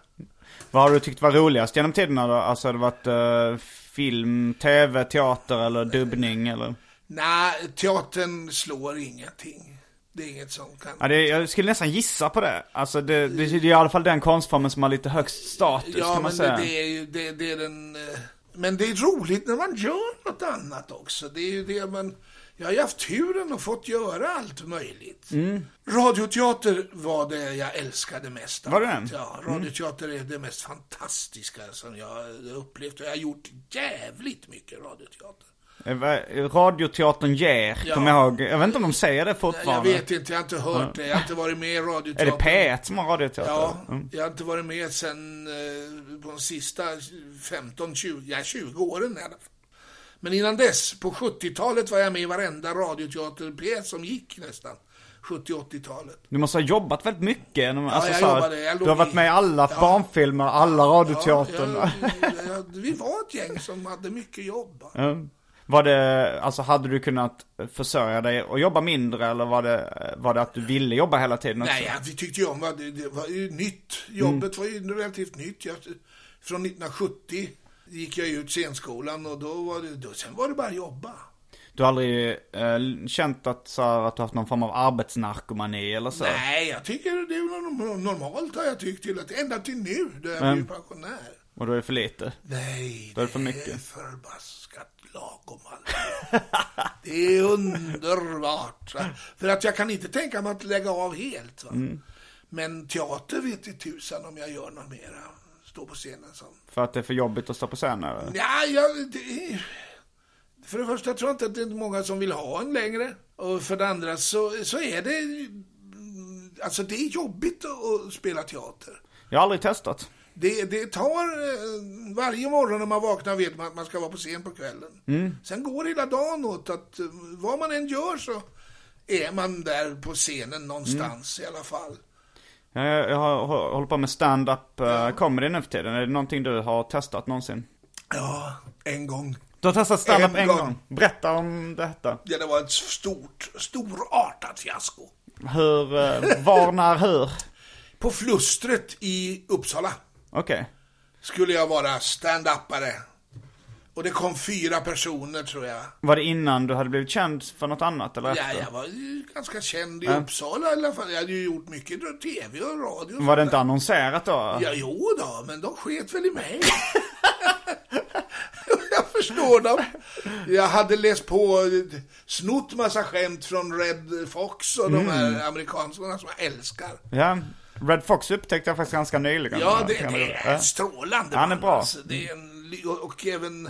Speaker 2: Vad har du tyckt var roligast genom tiderna då? Alltså har det varit eh, film, tv, teater eller dubbning eller?
Speaker 3: Nej, teatern slår ingenting. Det är inget som kan...
Speaker 2: Ja, det, jag skulle nästan gissa på det. Alltså det, det, det är i alla fall den konstformen som har lite högst status
Speaker 3: Ja,
Speaker 2: kan man
Speaker 3: men
Speaker 2: säga.
Speaker 3: Det, det är ju det, det är den... eh, Men det är roligt när man gör något annat också. Det är ju det man... Jag har ju haft turen och fått göra allt möjligt.
Speaker 2: Mm.
Speaker 3: Radioteater var det jag älskade mest. av
Speaker 2: Var det Mm.
Speaker 3: allt.
Speaker 2: det?
Speaker 3: Ja, radioteater är det mest fantastiska som jag har upplevt. Och jag har gjort jävligt mycket radioteater.
Speaker 2: Eh, vad- Radioteatern ger,
Speaker 3: Ja.
Speaker 2: kommer jag ihåg. Jag vet inte om de säger det
Speaker 3: Jag
Speaker 2: fortfarande.
Speaker 3: vet inte, jag har inte hört det. Jag har inte varit med i
Speaker 2: Är det
Speaker 3: radioteater.
Speaker 2: P1 som har radioteater?
Speaker 3: Ja,
Speaker 2: Mm.
Speaker 3: jag har inte varit med sen eh, på de sista 15, 20, ja 20 åren i alla fall. Men innan dess, på 70-talet var jag med i varenda radioteaterpjäs som gick nästan. 70-80-talet.
Speaker 2: Du måste ha jobbat väldigt mycket. genom- alltså,
Speaker 3: jag
Speaker 2: så här,
Speaker 3: jobbade, jag
Speaker 2: du
Speaker 3: låg
Speaker 2: har varit
Speaker 3: i-
Speaker 2: med i alla
Speaker 3: Ja.
Speaker 2: barnfilmer, alla radioteatern.
Speaker 3: Ja, jag, jag, vi var ett gäng som hade mycket jobb.
Speaker 2: Ja. Var det, alltså hade du kunnat försörja dig och jobba mindre eller var det, var det att du ville jobba hela tiden också?
Speaker 3: Nej, ja, vi tyckte ju om vad det, det var ju nytt.
Speaker 2: Mm.
Speaker 3: Jobbet var ju relativt nytt. Jag, från 1970 gick jag ut scenskolan och då var det, då, sen var det bara att jobba.
Speaker 2: Du har aldrig eh, känt att, så här, att du haft någon form av arbetsnarkomani eller så?
Speaker 3: Nej, jag tycker det är norm- normalt har jag tyckt till att ända till nu, då jag blev pensionär.
Speaker 2: Och då är det för lite?
Speaker 3: Nej,
Speaker 2: Då är det för
Speaker 3: är
Speaker 2: mycket.
Speaker 3: förbaskat lagom alltså. Det är underbart. va. För att jag kan inte tänka mig att lägga av helt. Va?
Speaker 2: Mm.
Speaker 3: Men teater vet i tusan om jag gör något mera. Stå på scenen som
Speaker 2: För att det är för jobbigt att stå på scen eller?
Speaker 3: Ja, jag, det, är- för det första tror jag inte att det är många som vill ha en längre. Och för det andra så, så är det... mm, Alltså det är jobbigt att, att spela teater.
Speaker 2: Jag har aldrig testat.
Speaker 3: Det, det tar... eh, Varje morgon när man vaknar vet man att man ska vara på scen på kvällen. Sen går hela dagen åt att eh, vad man än gör så är man där på scenen någonstans i alla fall.
Speaker 2: Jag, jag har, hå- håller på med stand-up eh, comedy nu för tiden. Är det någonting du har testat någonsin?
Speaker 3: Ja, en gång.
Speaker 2: Du har testat stand-up en,
Speaker 3: En
Speaker 2: gång.
Speaker 3: gång.
Speaker 2: Berätta om detta.
Speaker 3: Ja, det var ett stort, storartat fiasko.
Speaker 2: Hur, eh, var, när, hur?
Speaker 3: På Flustret i Uppsala.
Speaker 2: Okej.
Speaker 3: skulle jag vara stand-upare. Och det kom fyra personer tror jag.
Speaker 2: Var det innan du hade blivit känd för något annat eller
Speaker 3: Ja,
Speaker 2: efter?
Speaker 3: jag var ju ganska känd i Uppsala i alla fall. Jag hade ju gjort mycket tv och radio. och
Speaker 2: Var det
Speaker 3: sånt
Speaker 2: inte annonserat då?
Speaker 3: där. Ja, jo då, men de sket väl i mig. jag förstår dem. Jag hade läst på, eh, snott massa skämt från Red Fox och de
Speaker 2: Mm.
Speaker 3: här amerikanskarna som jag älskar.
Speaker 2: Ja. Red Fox upptäckte jag faktiskt ganska nyligen.
Speaker 3: Ja, det,
Speaker 2: Kan
Speaker 3: det
Speaker 2: jag-
Speaker 3: är en strålande
Speaker 2: Han är
Speaker 3: man,
Speaker 2: bra.
Speaker 3: alltså. Det är en, ly- och, och även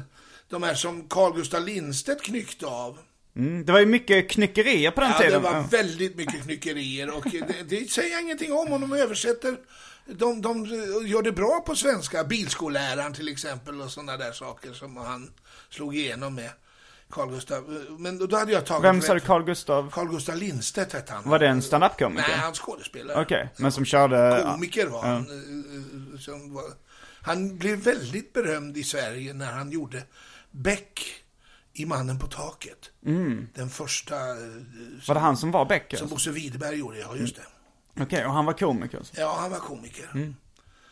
Speaker 3: de här som Carl Gustaf Lindstedt knyckte av.
Speaker 2: Mm, det var ju mycket knyckerier på den
Speaker 3: Ja, det
Speaker 2: tiden.
Speaker 3: var
Speaker 2: Ja.
Speaker 3: väldigt mycket knyckerier och det, det säger jag ingenting om om de översätter. De, de gör det bra på svenska, bilskolläraren till exempel och sådana där saker som han slog igenom med. Carl Gustaf. Men då hade jag tagit...
Speaker 2: Vem sa du?
Speaker 3: rätt-
Speaker 2: Carl Gustav?
Speaker 3: Carl Gustaf Lindstedt hette han.
Speaker 2: Var det en
Speaker 3: Nej,
Speaker 2: standup-komiker?
Speaker 3: han skådespelare.
Speaker 2: Okej, men som körde...
Speaker 3: Komiker var han. eh, eh, Som var, han blev väldigt berömd i Sverige när han gjorde Beck i Mannen på taket.
Speaker 2: Mm.
Speaker 3: Den första eh,
Speaker 2: Var det han som var alltså? Becker?
Speaker 3: som Bosse Widerberg gjorde, ja just
Speaker 2: Mm.
Speaker 3: det.
Speaker 2: Okej, och han var komiker alltså?
Speaker 3: Ja, han var komiker.
Speaker 2: Mm.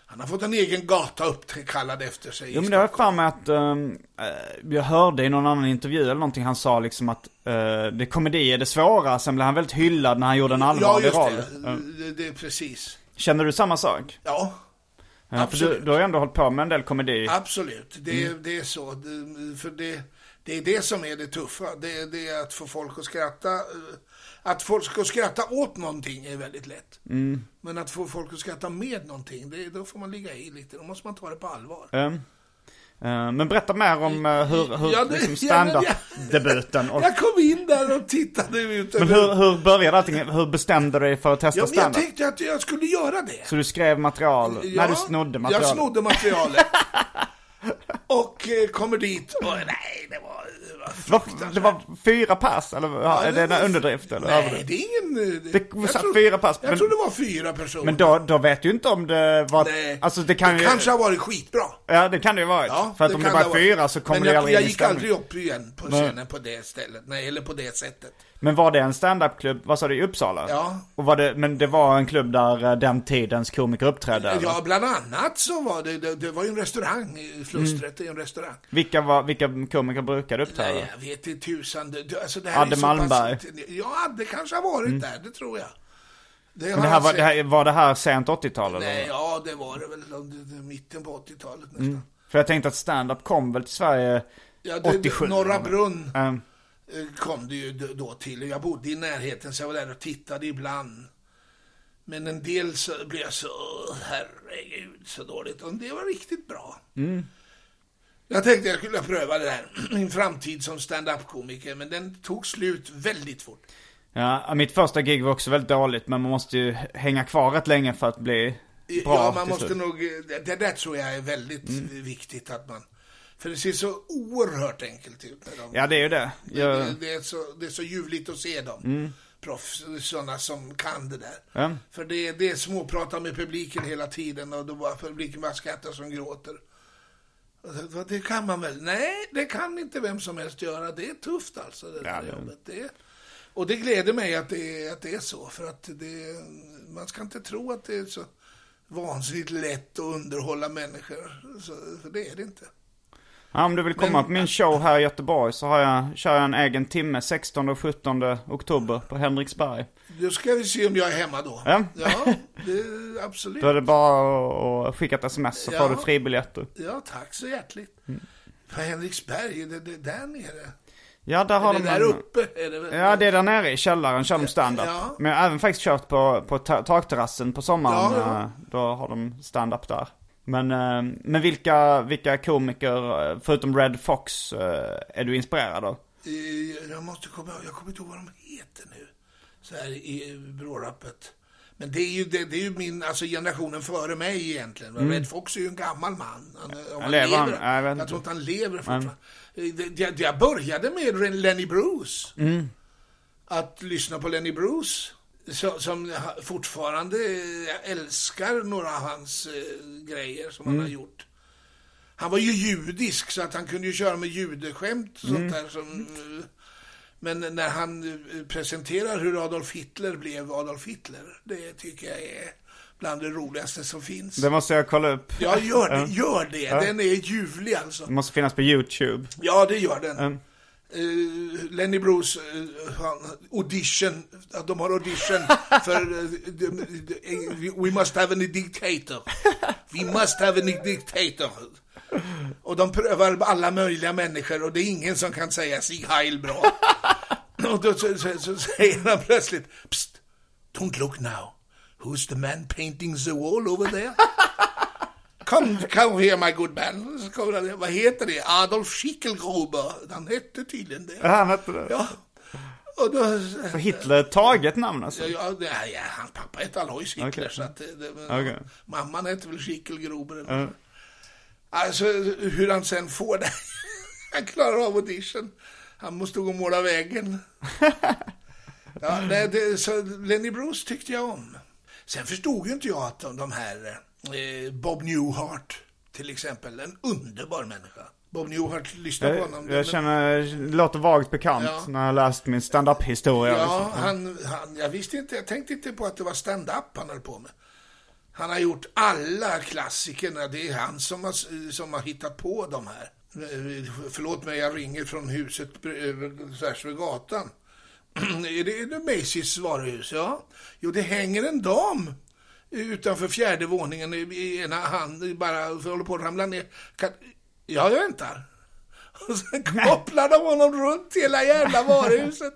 Speaker 3: Han har fått en egen gata uppkallad efter sig. i
Speaker 2: Jo men det har jag
Speaker 3: Stockholm.
Speaker 2: för mig att, ehm, eh, jag hörde i någon annan intervju eller någonting, han sa liksom att eh, det komedi är det svåra, sen blev han väldigt hyllad när han gjorde en
Speaker 3: Ja,
Speaker 2: allvarlig roll.
Speaker 3: just
Speaker 2: Eh,
Speaker 3: det. det. Det är precis.
Speaker 2: Känner du samma sak?
Speaker 3: Ja,
Speaker 2: Ja, för du,
Speaker 3: Absolut.
Speaker 2: du har ju ändå hållit på med en del komedi.
Speaker 3: absolut. Det,
Speaker 2: Mm.
Speaker 3: det är så. Det, för det, det är det som är det tuffa. Det, det är att få folk att skratta. eh, Att folk ska skratta åt någonting är väldigt lätt.
Speaker 2: Mm.
Speaker 3: Men att få folk att skratta med någonting, det, då får man ligga i lite. Då måste man ta det på allvar.
Speaker 2: Ehm, eh, men berätta mer om eh, hur, hur
Speaker 3: Ja, det-
Speaker 2: liksom
Speaker 3: ja, men jag-
Speaker 2: standup-debuten. och-
Speaker 3: Jag kom in där och tittade ut
Speaker 2: Men
Speaker 3: över...
Speaker 2: hur, hur började allting? Hur bestämde du dig för att testa
Speaker 3: ja, men jag
Speaker 2: standup?
Speaker 3: tänkte att jag skulle göra det.
Speaker 2: Så du skrev material?
Speaker 3: Ja,
Speaker 2: Nej, du snodde material.
Speaker 3: Jag snodde materialet. och eh, kommer dit och nej, det var... Det var,
Speaker 2: Det var,
Speaker 3: fruktansvärt.
Speaker 2: det var fyra pass, eller ja, är det en underdrift? Eller?
Speaker 3: Nej,
Speaker 2: överdrift?
Speaker 3: det är ingen... eh,
Speaker 2: Det
Speaker 3: jag
Speaker 2: satt
Speaker 3: tror-
Speaker 2: fyra pass,
Speaker 3: Jag
Speaker 2: men-
Speaker 3: tror det var fyra personer.
Speaker 2: Men då, då vet du inte om det var...
Speaker 3: Nej,
Speaker 2: Alltså det kan ju...
Speaker 3: kanske har varit skitbra.
Speaker 2: Ja, det kan det ju vara.
Speaker 3: Ja,
Speaker 2: För att om det
Speaker 3: kan
Speaker 2: bara
Speaker 3: ha
Speaker 2: är
Speaker 3: varit.
Speaker 2: fyra så kommer
Speaker 3: Men
Speaker 2: du
Speaker 3: jag,
Speaker 2: aldrig
Speaker 3: jag
Speaker 2: in i
Speaker 3: gick
Speaker 2: stämningen.
Speaker 3: aldrig upp igen på scenen på det stället. Nej, eller på det sättet.
Speaker 2: Men var det en standupklubb, vad sa du, i Uppsala?
Speaker 3: Ja.
Speaker 2: Och var det, men det var en klubb där eh, den tidens komiker uppträdde? eller?
Speaker 3: Ja, bland annat så var det, det, det var ju en restaurang, i
Speaker 2: Mm.
Speaker 3: flustret i en restaurang.
Speaker 2: Vilka, var, vilka komiker brukade uppträda?
Speaker 3: Nej, jag vet inte tusan. Det, det- alltså det här
Speaker 2: Adde
Speaker 3: är så
Speaker 2: Malmberg. Mm.
Speaker 3: Pass, ja, det kanske har varit där, det tror jag. Det har
Speaker 2: men det här
Speaker 3: jag
Speaker 2: var,
Speaker 3: sett.
Speaker 2: det här, var det här sent 80-tal eller?
Speaker 3: Nej, ja, det var det väl om det- det- mitten på 80-talet
Speaker 2: Mm.
Speaker 3: nästan.
Speaker 2: För jag tänkte att stand-up kom väl till Sverige
Speaker 3: Ja, det,
Speaker 2: 87?
Speaker 3: Norra
Speaker 2: eller?
Speaker 3: Brunn
Speaker 2: Ehm,
Speaker 3: eh, kom det ju d- då till. Jag bodde i närheten så jag var där och tittade ibland. Men en del så blev jag så, "Åh, herregud, så dåligt. Och det var riktigt bra.
Speaker 2: Mm.
Speaker 3: Jag tänkte jag skulle pröva det där, min framtid som stand-up-komiker, men den tog slut väldigt fort.
Speaker 2: ja, mitt första gig var också väldigt dåligt, men man måste ju hänga kvar rätt länge för att bli bra
Speaker 3: Eh, ja, man
Speaker 2: till
Speaker 3: måste
Speaker 2: slut. Mm.
Speaker 3: nog, eh, det, det där tror jag är väldigt viktigt att man, för det ser så oerhört enkelt ut. Med dem.
Speaker 2: Ja, det är ju det. Jag,
Speaker 3: Det, det, är så, det är så ljuvligt att se dem. Proffs, sådana som kan det där.
Speaker 2: Ja.
Speaker 3: För det, det är småprata med publiken hela tiden och då bara publiken bara skrattar som gråter. Och så, "Vad, Det kan man väl? Nej, det kan inte vem som helst göra. Det är tufft alltså, det där
Speaker 2: det-
Speaker 3: jobbet. Det, och det gläder mig att det, att det är så, för att det, man ska inte tro att det är så vansinnigt lätt att underhålla människor. Så, för det är det inte.
Speaker 2: Ja, om du vill komma
Speaker 3: Men-
Speaker 2: på min show här i Göteborg så har jag, kör jag en egen timme 16 och 17 oktober på Henriksberg.
Speaker 3: Då ska vi se om jag är hemma då.
Speaker 2: Ja.
Speaker 3: ja det, absolut.
Speaker 2: Då är det bara att skicka ett sms så får
Speaker 3: Ja.
Speaker 2: du fribiljetter.
Speaker 3: Ja, tack så hjärtligt.
Speaker 2: Mm.
Speaker 3: På Henriksberg, är det, det där nere?
Speaker 2: Ja, där har
Speaker 3: Eller
Speaker 2: de
Speaker 3: där
Speaker 2: en-
Speaker 3: uppe är det väl?
Speaker 2: Ja, det är där nere i källaren kör de stand-up.
Speaker 3: Ja.
Speaker 2: Men jag har även faktiskt kört på, på ta- takterrassen på sommaren.
Speaker 3: Ja, ja.
Speaker 2: eh, Då har de stand-up där. Men, eh, men vilka, vilka komiker, eh, förutom Red Fox, eh, är du inspirerad av?
Speaker 3: Eh, Jag måste komma ihåg, jag kommer inte ihåg vad de heter nu. Så här i eh, brårappet. Men det är ju, det, det är ju min, alltså generationen före mig egentligen. va? Red Fox är ju en gammal man. Han, om han
Speaker 2: lever
Speaker 3: lever.
Speaker 2: han? Mm. Ja, jag vet
Speaker 3: Jag,
Speaker 2: inte.
Speaker 3: tror inte han lever fortfarande. Eh, det- Jag, jag började med Ren- Lenny Bruce.
Speaker 2: Mm.
Speaker 3: Att lyssna på Lenny Bruce. så- Som ha- fortfarande, eh, jag älskar några av hans eh, grejer som
Speaker 2: Mm.
Speaker 3: han har gjort. Han var ju judisk så att han kunde ju köra med judeskämt och sånt där som... eh, Men när han eh, presenterar hur Adolf Hitler blev Adolf Hitler, det tycker jag är bland det roligaste som finns.
Speaker 2: Det måste jag kolla upp.
Speaker 3: Ja, gör det, gör det. Den är ljuvlig alltså.
Speaker 2: Det måste finnas på YouTube.
Speaker 3: Ja, det gör den. Eh, Lenny Bruce, eh, han, audition, att de har audition för eh, de- de- We must have a dictator. We must have a dictator. Och de prövar alla möjliga människor och det är ingen som kan säga Sig Heil bra. och då så, så, så säger han plötsligt, Psst, don't look now. Who's the man painting the wall over there? Come, come here my good man. Så kommer han, vad heter det? Adolf Schickelgruber. Han hette tydligen det.
Speaker 2: Ja, Han hette det.
Speaker 3: Ja. Och då...
Speaker 2: För Hitler taget namn alltså.
Speaker 3: Ja, det, ja, hans pappa hette Alois Hitler,
Speaker 2: Okej.
Speaker 3: så att det, det,
Speaker 2: Okej.
Speaker 3: mamman hette väl Schickelgruber eller så. Alltså hur han sen får det. han klarar av audition. Han måste gå och måla väggen. ja, nej, det, så Lenny Bruce tyckte jag om. Sen förstod ju inte jag att de, de här eh, Bob Newhart till exempel, en underbar människa. Bob Newhart lyssnade på honom.
Speaker 2: Jag,
Speaker 3: men-
Speaker 2: jag känner, det låter vagt bekant
Speaker 3: Ja.
Speaker 2: när jag läst min stand-up-historia.
Speaker 3: Ja,
Speaker 2: liksom.
Speaker 3: han, han, jag visste inte, jag tänkte inte på att det var stand-up han höll på med. Han har gjort alla klassikerna, det är han som har, som har hittat på de här. Eh, Förlåt mig, jag ringer från huset br- tvärs över gatan. är det, är det Macy's varuhus? Ja. Jo, det hänger en dam utanför fjärde våningen i i ena hand, bara för håller på att ramla ner. Kan, ja, jag väntar. Och sen kopplar de honom runt hela jävla varuhuset.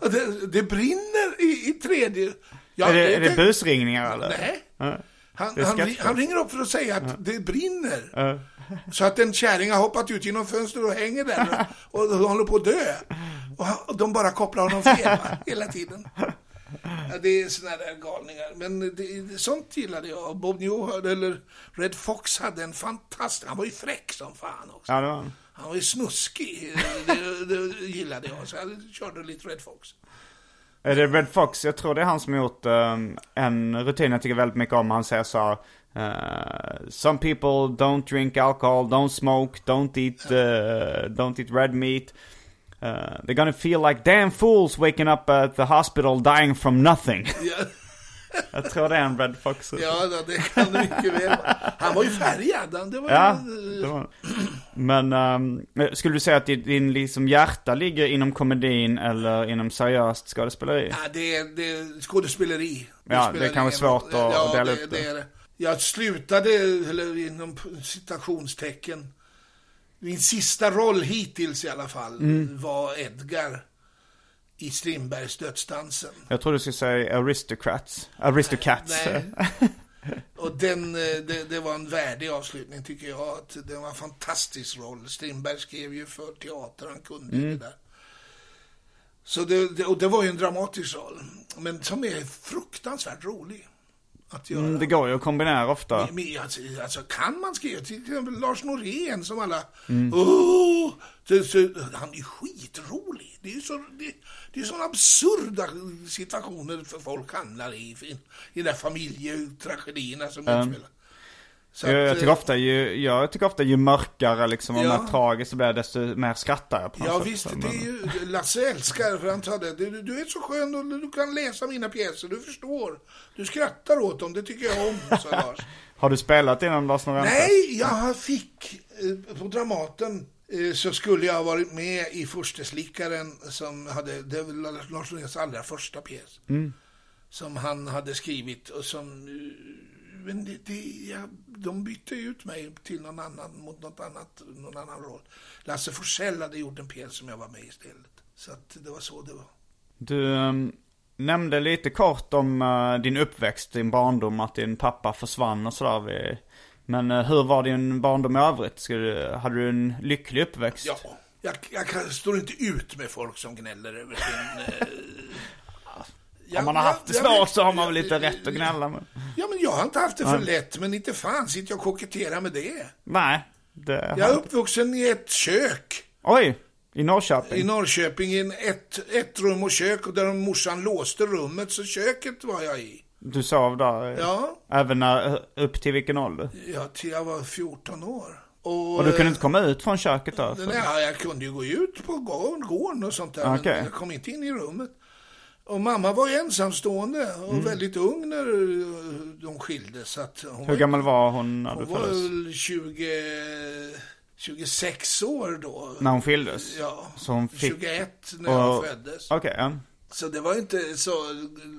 Speaker 3: Och det, det brinner i, i tredje. Ja,
Speaker 2: är det, är
Speaker 3: jag
Speaker 2: det
Speaker 3: tänkte-
Speaker 2: busringningar eller?
Speaker 3: Nej.
Speaker 2: Ja. Det
Speaker 3: Han,
Speaker 2: är
Speaker 3: han, ri-
Speaker 2: skattefel.
Speaker 3: han ringer upp för att säga att det brinner.
Speaker 2: Ja.
Speaker 3: Så att en kärring har hoppat ut genom fönstret och hänger där och, och håller på att dö. Och, han, och de bara kopplar honom fel va? hela tiden. Ja, det är såna där galningar. Men det, det, sånt gillade jag. Bob Newhart, eller Red Fox hade en fantastisk... Han var ju fräck som fan också.
Speaker 2: Ja, det var han.
Speaker 3: Han var ju snuskig. Det, det gillade jag. Så jag körde lite Red Fox.
Speaker 2: Är det Red Fox? Jag tror det är han som gjort ehm, en rutin jag tycker väldigt mycket om. Han säger så här, eh, Some people don't drink alcohol, don't smoke, don't eat, eh, don't eat red meat. Eh, they're gonna feel like damn fools waking up at the hospital dying from nothing.
Speaker 3: Ja.
Speaker 2: jag tror det är en Red Fox.
Speaker 3: Ja, ja, det kan det mycket väl vara. Han var ju färgad. Han- Det var
Speaker 2: Ja,
Speaker 3: ju,
Speaker 2: det var Men ehm, skulle du säga att din, din liksom hjärta ligger inom komedin eller inom seriöst skådespeleri?
Speaker 3: ja, det, är- det är skådespeleri.
Speaker 2: Ja,
Speaker 3: spelar
Speaker 2: det kan vara
Speaker 3: ingen
Speaker 2: svårt
Speaker 3: roll.
Speaker 2: att-
Speaker 3: ja,
Speaker 2: att dela
Speaker 3: det,
Speaker 2: upp det.
Speaker 3: det. är det. Jag slutade, eller inom citationstecken, min sista roll hittills i alla fall
Speaker 2: Mm.
Speaker 3: var Edgar i Strindbergs Dödsdansen.
Speaker 2: Jag tror du skulle säga aristocrats. Aristocats.
Speaker 3: Nej. Och den, eh, det, det var en värdig avslutning tycker jag. Att det var en fantastisk roll. Strindberg skrev ju för teater, han kunde ju det där. Så det, det, och det var ju en dramatisk roll. Men som är fruktansvärt rolig att göra.
Speaker 2: Mm, det går ju att kombinera ofta.
Speaker 3: Men, alltså, alltså, kan man skriva? Till exempel Lars Norén som alla...
Speaker 2: Mm.
Speaker 3: Åh! så, så, han är ju skitrolig. Det är ju så, det, det är sådana absurda situationer för folk hamnar i. I, i de där familjetragedierna som utspelar. Så
Speaker 2: Jag, jag,
Speaker 3: att,
Speaker 2: tycker
Speaker 3: eh,
Speaker 2: ofta ju, jag tycker ofta ju mörkare liksom, och
Speaker 3: Ja.
Speaker 2: mer tragiskt det blir, desto mer skrattar jag på något
Speaker 3: eh, Ja
Speaker 2: sätt.
Speaker 3: visst,
Speaker 2: Men-
Speaker 3: det är ju, Lasse älskar för han sa det. Du, du är så skön och du kan läsa mina pjäser, du förstår. Du skrattar åt dem, det tycker jag om, sa Lars.
Speaker 2: Har du spelat innan Lars Norén?
Speaker 3: Nej, jag fick eh, på Dramaten eh, så skulle jag ha varit med i Försteslickaren som hade, det var Lars Noréns allra första pjäs.
Speaker 2: Mm.
Speaker 3: Som han hade skrivit och som, eh, men det, det, jag, de bytte ut mig till någon annan, mot något annat, någon annan roll. Lasse Forsell hade gjort en pjäs som jag var med i istället. Så att det var så det var.
Speaker 2: Du ehm, nämnde lite kort om eh, din uppväxt, din barndom, att din pappa försvann och sådär. vid- Men eh, hur var din barndom i övrigt? Skulle, du- hade du en lycklig uppväxt?
Speaker 3: Ja, jag, jag kan, står inte ut med folk som gnäller över sin... Eh,
Speaker 2: Om man
Speaker 3: jag-
Speaker 2: har haft det
Speaker 3: jag-
Speaker 2: svårt
Speaker 3: jag-
Speaker 2: så har man väl lite
Speaker 3: jag-
Speaker 2: rätt att gnälla. Men...
Speaker 3: Ja, men jag har inte haft det för lätt, men inte fan sitter jag och koketterar med det.
Speaker 2: Nej. Det...
Speaker 3: Jag är uppvuxen i ett kök
Speaker 2: Oj! I Norrköping?
Speaker 3: i Norrköping, i en ett, ett rum och kök, och där morsan låste rummet, så köket var jag i.
Speaker 2: Du sov där? eh,
Speaker 3: Ja. Eh,
Speaker 2: Även när, eh, upp till vilken ålder?
Speaker 3: Ja, till jag var 14 år. Och, eh,
Speaker 2: Och du kunde inte komma ut från köket då?
Speaker 3: Nej, ja, jag kunde ju gå ut på gården- gården och sånt där,
Speaker 2: Okej.
Speaker 3: men jag kom inte in i rummet. Och mamma var ju ensamstående och
Speaker 2: Mm.
Speaker 3: väldigt ung när eh, de skildes. Så att hon
Speaker 2: Hur
Speaker 3: var-
Speaker 2: gammal var hon när du
Speaker 3: Hon var
Speaker 2: föddes?
Speaker 3: väl 20, 26 år då.
Speaker 2: När hon skildes?
Speaker 3: Ja,
Speaker 2: Så hon fick...
Speaker 3: 21 när jag
Speaker 2: och-
Speaker 3: föddes.
Speaker 2: Okej, ja.
Speaker 3: Så det var ju inte så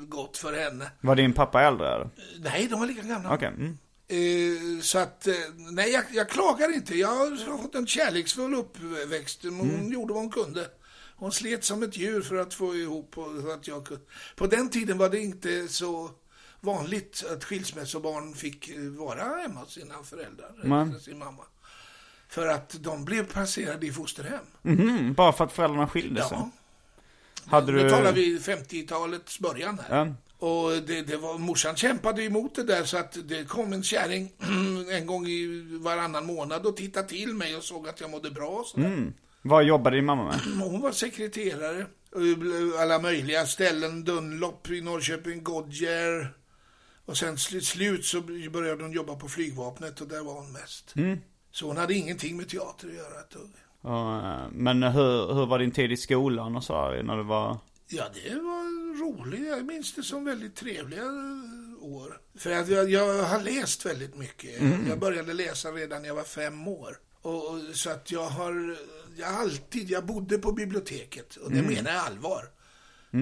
Speaker 3: gott för henne.
Speaker 2: Var din pappa äldre eller?
Speaker 3: Nej, de var lika gamla.
Speaker 2: Okej. Mm.
Speaker 3: Eh, så att, eh, nej jag, jag klagar inte. Jag har fått en kärleksfull uppväxt. Men Hon
Speaker 2: Mm.
Speaker 3: gjorde vad hon kunde. Hon slet som ett djur för att få ihop och för att jag kunde. På den tiden var det inte så vanligt att skilsmässobarn fick eh, vara hemma hos sina föräldrar,
Speaker 2: Men-
Speaker 3: eller sin mamma. För att de blev placerade i fosterhem.
Speaker 2: Mhm, bara för att föräldrarna skildes?
Speaker 3: Ja.
Speaker 2: Hade du...
Speaker 3: Nu talar vi 50-talets början här.
Speaker 2: eh, Ja.
Speaker 3: Och det, det var, morsan kämpade emot det där så att det kom en kärring en gång i varannan månad och tittade till mig och såg att jag mådde bra. och sådär.
Speaker 2: Vad jobbade din mamma med?
Speaker 3: Och Hon var sekreterare. och blev Alla möjliga ställen, Dunlop i Norrköping, Goodyear. Och sen sl- slut så började hon jobba på flygvapnet och där var hon mest. Så hon hade ingenting med teater att göra ett dugg.
Speaker 2: Och, eh, men hur, hur var din tid i skolan och så här, när du var...
Speaker 3: Ja, det var roligt. Jag minns det som väldigt trevliga eh, år. För att jag, jag har läst väldigt mycket. Jag började läsa redan när jag var fem år. Och, och, så att jag har, jag har alltid, jag bodde på biblioteket. Och det menar jag allvar.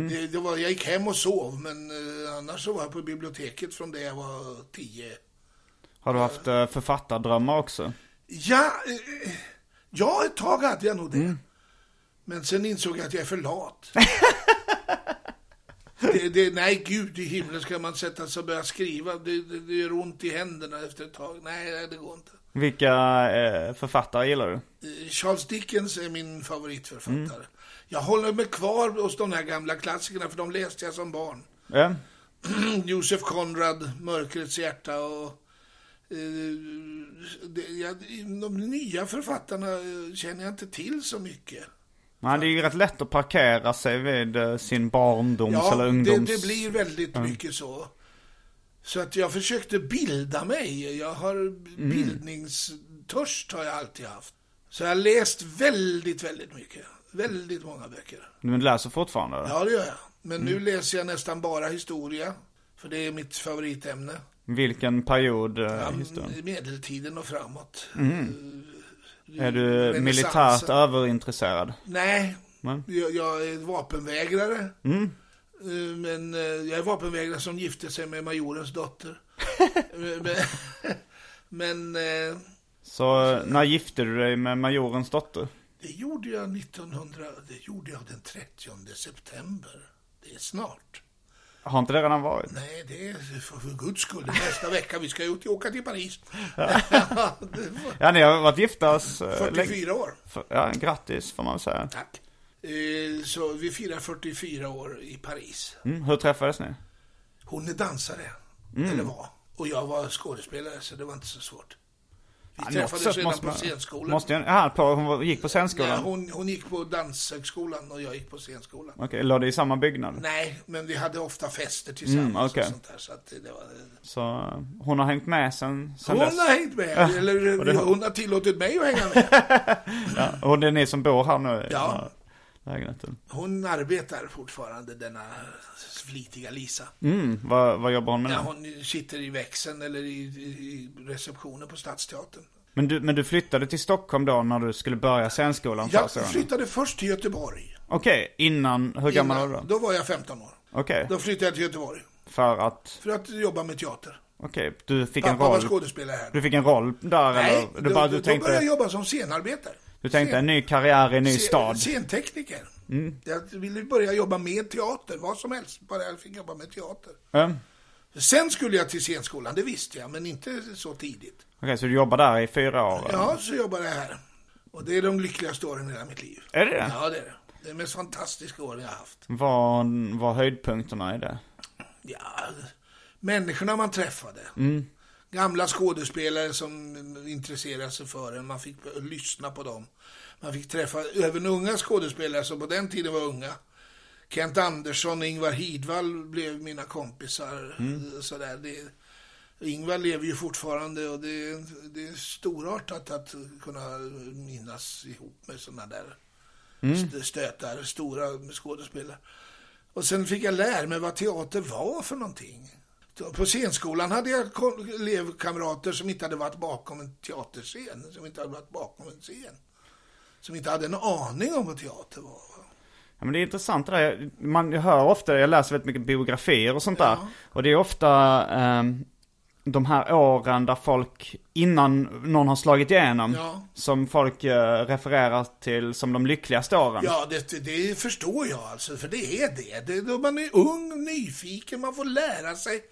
Speaker 3: Det, det var, jag gick hem och sov, men eh, annars så var jag på biblioteket från det jag var tio.
Speaker 2: Har du haft eh, författardrömmar också?
Speaker 3: Ja, eh, Ja, ett tag hade jag nog det. Men sen insåg jag att jag är för lat. det, det, nej, gud i himlen ska man sätta sig och börja skriva. Det, det, det gör ont i händerna efter ett tag. Nej, nej, det går inte.
Speaker 2: Vilka eh, författare gillar du?
Speaker 3: Eh, Charles Dickens är min favoritförfattare. Jag håller mig kvar hos de här gamla klassikerna, för de läste jag som barn.
Speaker 2: Ja.
Speaker 3: Josef Konrad, Mörkrets hjärta och... Eh, det, jag, de nya författarna eh, känner jag inte till så mycket.
Speaker 2: Nej, det är ju rätt lätt att parkera sig vid eh, sin barndoms
Speaker 3: Ja,
Speaker 2: eller
Speaker 3: det,
Speaker 2: ungdoms...
Speaker 3: det blir väldigt mycket så. Så att jag försökte bilda mig. Jag har bildningstörst har jag alltid haft. Så jag har läst väldigt, väldigt mycket. Väldigt många böcker.
Speaker 2: Du läser fortfarande? eller?
Speaker 3: Ja, det gör jag. Men nu läser jag nästan bara historia. För det är mitt favoritämne.
Speaker 2: Vilken period eh, i
Speaker 3: mm,
Speaker 2: stund?
Speaker 3: Medeltiden och framåt.
Speaker 2: Är du militärt överintresserad?
Speaker 3: Nej,
Speaker 2: Men-
Speaker 3: jag, jag är vapenvägrare. Eh, Men eh, jag är vapenvägrare som gifte sig med majorens dotter. men men eh,
Speaker 2: Så eh, när gifte du dig med majorens dotter?
Speaker 3: det gjorde jag 1900, det gjorde jag den 30 september. Det är snart.
Speaker 2: Har inte det redan varit?
Speaker 3: Nej, det är för, för guds skull, det är nästa vecka. Vi ska ju till- åka till Paris. Det var
Speaker 2: Ja, ni har varit gifta så, eh, länge.
Speaker 3: 44 år.
Speaker 2: För- Ja, grattis får man väl säga.
Speaker 3: Tack. Eh, Så vi firar 44 år i Paris.
Speaker 2: Mm, hur träffades ni?
Speaker 3: Hon är dansare,
Speaker 2: Mm.
Speaker 3: eller var. Och jag var skådespelare, så det var inte så svårt. Vi
Speaker 2: Ja, något
Speaker 3: träffades
Speaker 2: sätt
Speaker 3: redan
Speaker 2: måste
Speaker 3: på
Speaker 2: man-
Speaker 3: scenskolan.
Speaker 2: Måste jag, aha, på, hon var- gick på
Speaker 3: Nej,
Speaker 2: scenskolan? Okej,
Speaker 3: hon, hon gick på danshögskolan och jag gick på scenskolan.
Speaker 2: låg det i samma byggnad?
Speaker 3: Nej, men vi hade ofta fester tillsammans
Speaker 2: Mm, okej.
Speaker 3: och sånt där. Så att det var...
Speaker 2: Så eh, hon har hängt med sen, sen
Speaker 3: Hon
Speaker 2: dess?
Speaker 3: har hängt med, eller
Speaker 2: det har-
Speaker 3: hon har tillåtit mig att hänga med.
Speaker 2: Ja, och det är ni som bor här nu i den här
Speaker 3: Ja,
Speaker 2: lägenheten?
Speaker 3: hon arbetar fortfarande, denna flitiga Lisa.
Speaker 2: Mm, vad, vad jobbar hon med nu?
Speaker 3: Ja, hon sitter i växeln eller i, i, i receptionen på Stadsteatern.
Speaker 2: Men, du, men du flyttade till Stockholm då när du skulle börja scenskolan
Speaker 3: Jag
Speaker 2: första gången?
Speaker 3: flyttade först till Göteborg.
Speaker 2: Okej, innan, hur gammal var du då?
Speaker 3: Då var jag 15 år.
Speaker 2: Okej,
Speaker 3: Då flyttade jag till Göteborg
Speaker 2: för att,
Speaker 3: för att jobba med teater.
Speaker 2: okej, du fick en
Speaker 3: Pappa var
Speaker 2: roll,
Speaker 3: skådespelare här.
Speaker 2: du fick en roll där
Speaker 3: Nej,
Speaker 2: eller? Du
Speaker 3: då,
Speaker 2: bara,
Speaker 3: då,
Speaker 2: du
Speaker 3: då började jag
Speaker 2: tänkte,
Speaker 3: jobba som scenarbetare.
Speaker 2: du tänkte en
Speaker 3: Scen-
Speaker 2: ny karriär i en ny
Speaker 3: scen-
Speaker 2: stad? Mm.
Speaker 3: Scentekniker. Jag ville börja jobba med teater, vad som helst, bara jag fick jobba med teater.
Speaker 2: Ja. Okej,
Speaker 3: Sen skulle jag till scenskolan, det visste jag, men inte så tidigt.
Speaker 2: så du jobbade där i fyra år? eller?
Speaker 3: Ja, så jobbade jag här. Och det är de lyckligaste åren i hela mitt liv.
Speaker 2: Är det det?
Speaker 3: Ja, det är det. Det är de mest fantastiska åren jag har haft.
Speaker 2: Vad var höjdpunkterna i det?
Speaker 3: Ja, människorna man träffade. Gamla skådespelare som intresserade sig för en, man fick lyssna på dem. Man fick träffa även unga skådespelare som på den tiden var unga. Kent Andersson och Ingvar Hidvall blev mina kompisar. Sådär. Det, Ingvar lever ju fortfarande och det, det är storartat att kunna minnas ihop med sådana där st- stötar, stora skådespelare. Och sen fick jag lära mig vad teater var för någonting. På scenskolan hade jag kon- elevkamrater som inte hade varit bakom en teaterscen, som inte hade varit bakom en scen. Som inte hade en aning om vad teater var.
Speaker 2: Ja, men det är intressant det där. Man hör ofta, jag läser väldigt mycket biografier och sånt där. Och det är ofta ehm, de här åren där folk, innan någon har slagit igenom,
Speaker 3: Ja.
Speaker 2: som folk eh, refererar till som de lyckligaste åren.
Speaker 3: Ja, det, det förstår jag alltså, för det är det. det då man är ung, nyfiken, man får lära sig.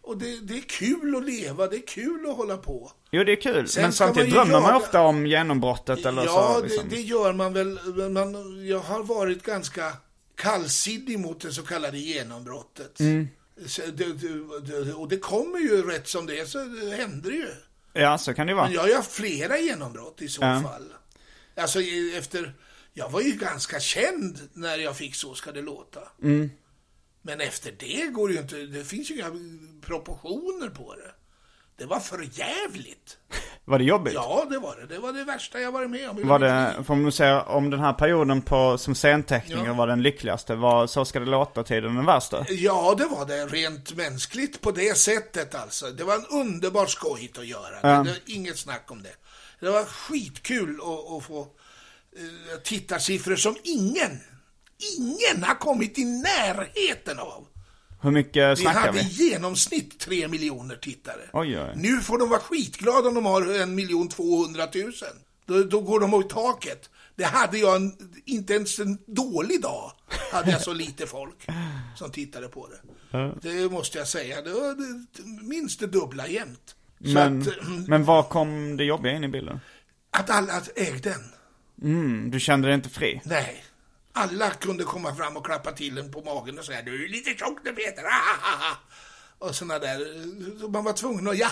Speaker 3: Och det, det är kul att leva, det är kul att hålla på.
Speaker 2: Jo, det är kul.
Speaker 3: Sen
Speaker 2: men
Speaker 3: ska man
Speaker 2: samtidigt
Speaker 3: ju
Speaker 2: drömmer man
Speaker 3: jaga-
Speaker 2: ofta om genombrottet eller
Speaker 3: ja,
Speaker 2: så. Liksom.
Speaker 3: det, det gör man väl. men Man, jag har varit ganska kallsinnig mot det så kallade genombrottet.
Speaker 2: Mm.
Speaker 3: Så det, det, det, och det kommer ju rätt som det är, så det händer det ju.
Speaker 2: Ja, så kan det ju vara.
Speaker 3: Men jag har ju haft flera genombrott i så
Speaker 2: Ja.
Speaker 3: fall. Alltså i- efter... Jag var ju ganska känd när jag fick Så ska det låta.
Speaker 2: Mm.
Speaker 3: Men efter det går det ju inte... Det finns ju inga proportioner på det. Det var för jävligt.
Speaker 2: Var det jobbigt?
Speaker 3: Ja, det var det. Det var det värsta jag varit med om. i
Speaker 2: Var
Speaker 3: mitt
Speaker 2: det, får man säga, om den här perioden på, som scentekniker
Speaker 3: Ja.
Speaker 2: var den lyckligaste, var Så ska det låta-tiden den värsta?
Speaker 3: Ja, det var det. Rent mänskligt på det sättet alltså. Det var en underbar skojigt att göra. Det, det var inget snack om det. Det var skitkul att, att få eh, tittarsiffror som ingen, ingen har kommit i närheten av.
Speaker 2: Hur mycket
Speaker 3: Vi
Speaker 2: snackar
Speaker 3: hade i
Speaker 2: vi?
Speaker 3: genomsnitt 3 miljoner tittare.
Speaker 2: Oj, oj.
Speaker 3: Nu får de vara skitglada om de har en miljon 200 000. Då, då går de åt taket. Det hade jag en, inte ens en dålig dag. Hade jag så lite folk som tittade på det. Det måste jag säga. Det var det, minst det dubbla jämt. Så
Speaker 2: Men,
Speaker 3: att,
Speaker 2: men var kom det jobbiga in i bilden?
Speaker 3: att alla ägde den.
Speaker 2: Mm, du kände dig inte fri?
Speaker 3: Nej. Alla kunde komma fram och klappa till en på magen och säga du är lite tjock nu Peter. Ah, Och såna där. Så man var tvungen att ja.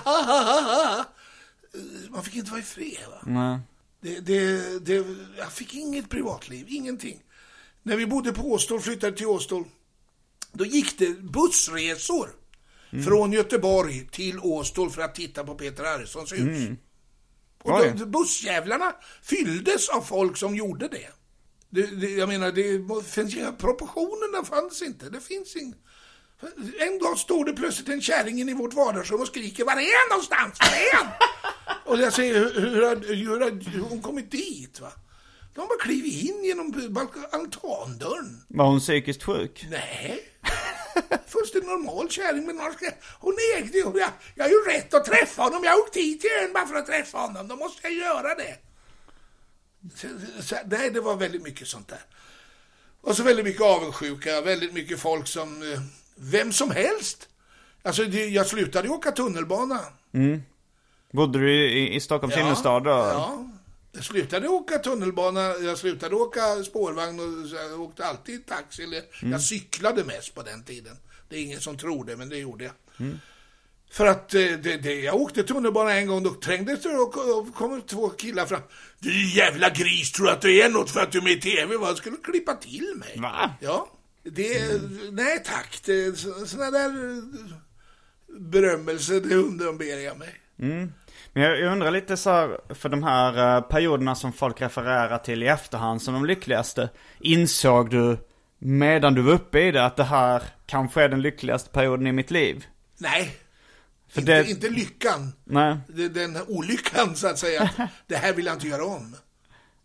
Speaker 3: Eh, Man fick inte vara i fred. Va?
Speaker 2: Nej.
Speaker 3: Det, det, det, jag fick inget privatliv, ingenting. När vi bodde på Åstol, flyttade till Åstol, då gick det bussresor från Göteborg till Åstol för att titta på Peter Harrisons hus. Och
Speaker 2: Oj.
Speaker 3: då, bussjävlarna fylldes av folk som gjorde det. det, det jag menar, det, må- finns, ju- proportionerna fanns inte. Det finns ing. En dag står det plötsligt en kärring inne i vårt vardagsrum och skriker Var är han någonstans? Var är han? och jag säger hur, hur, har- hur har hon kommit dit? Va? De har bara klivit in genom balk- altandörren.
Speaker 2: Var hon psykiskt sjuk?
Speaker 3: Nej. Först en normal kärring men norska. Hon ägde ju... Jag, jag har ju rätt att träffa honom. Jag åkte hit till ön bara för att träffa honom. Då måste jag göra det. Så, så, nej, det var väldigt mycket sånt där. Och så väldigt mycket avundsjuka. Väldigt mycket folk som... eh, Vem som helst. Alltså, det, jag slutade ju åka tunnelbana.
Speaker 2: Bodde du i, i Stockholms innerstad då?
Speaker 3: Ja. Jag slutade åka tunnelbana, jag slutade åka spårvagn och så jag åkte alltid taxi. Eller,
Speaker 2: Mm.
Speaker 3: Jag cyklade mest på den tiden. Det är ingen som tror det, men det gjorde jag.
Speaker 2: Mm.
Speaker 3: För att eh, det, det, jag åkte tunnelbana en gång, då trängdes det och och kom två killar fram. Du jävla gris, tror du att du är något för att du är med i TV? Vad skulle du klippa till mig?
Speaker 2: Va?
Speaker 3: Ja. Det, Nej tack, det, så, såna där berömmelser, det undanber jag mig.
Speaker 2: Men jag jag undrar lite så här, för de här eh, perioderna som folk refererar till i efterhand som de lyckligaste. Insåg du medan du var uppe i det att det här kanske är den lyckligaste perioden i mitt liv?
Speaker 3: Nej,
Speaker 2: För
Speaker 3: inte,
Speaker 2: det,
Speaker 3: inte lyckan.
Speaker 2: nej.
Speaker 3: Det- den här olyckan så att säga. Att det här vill jag inte göra om.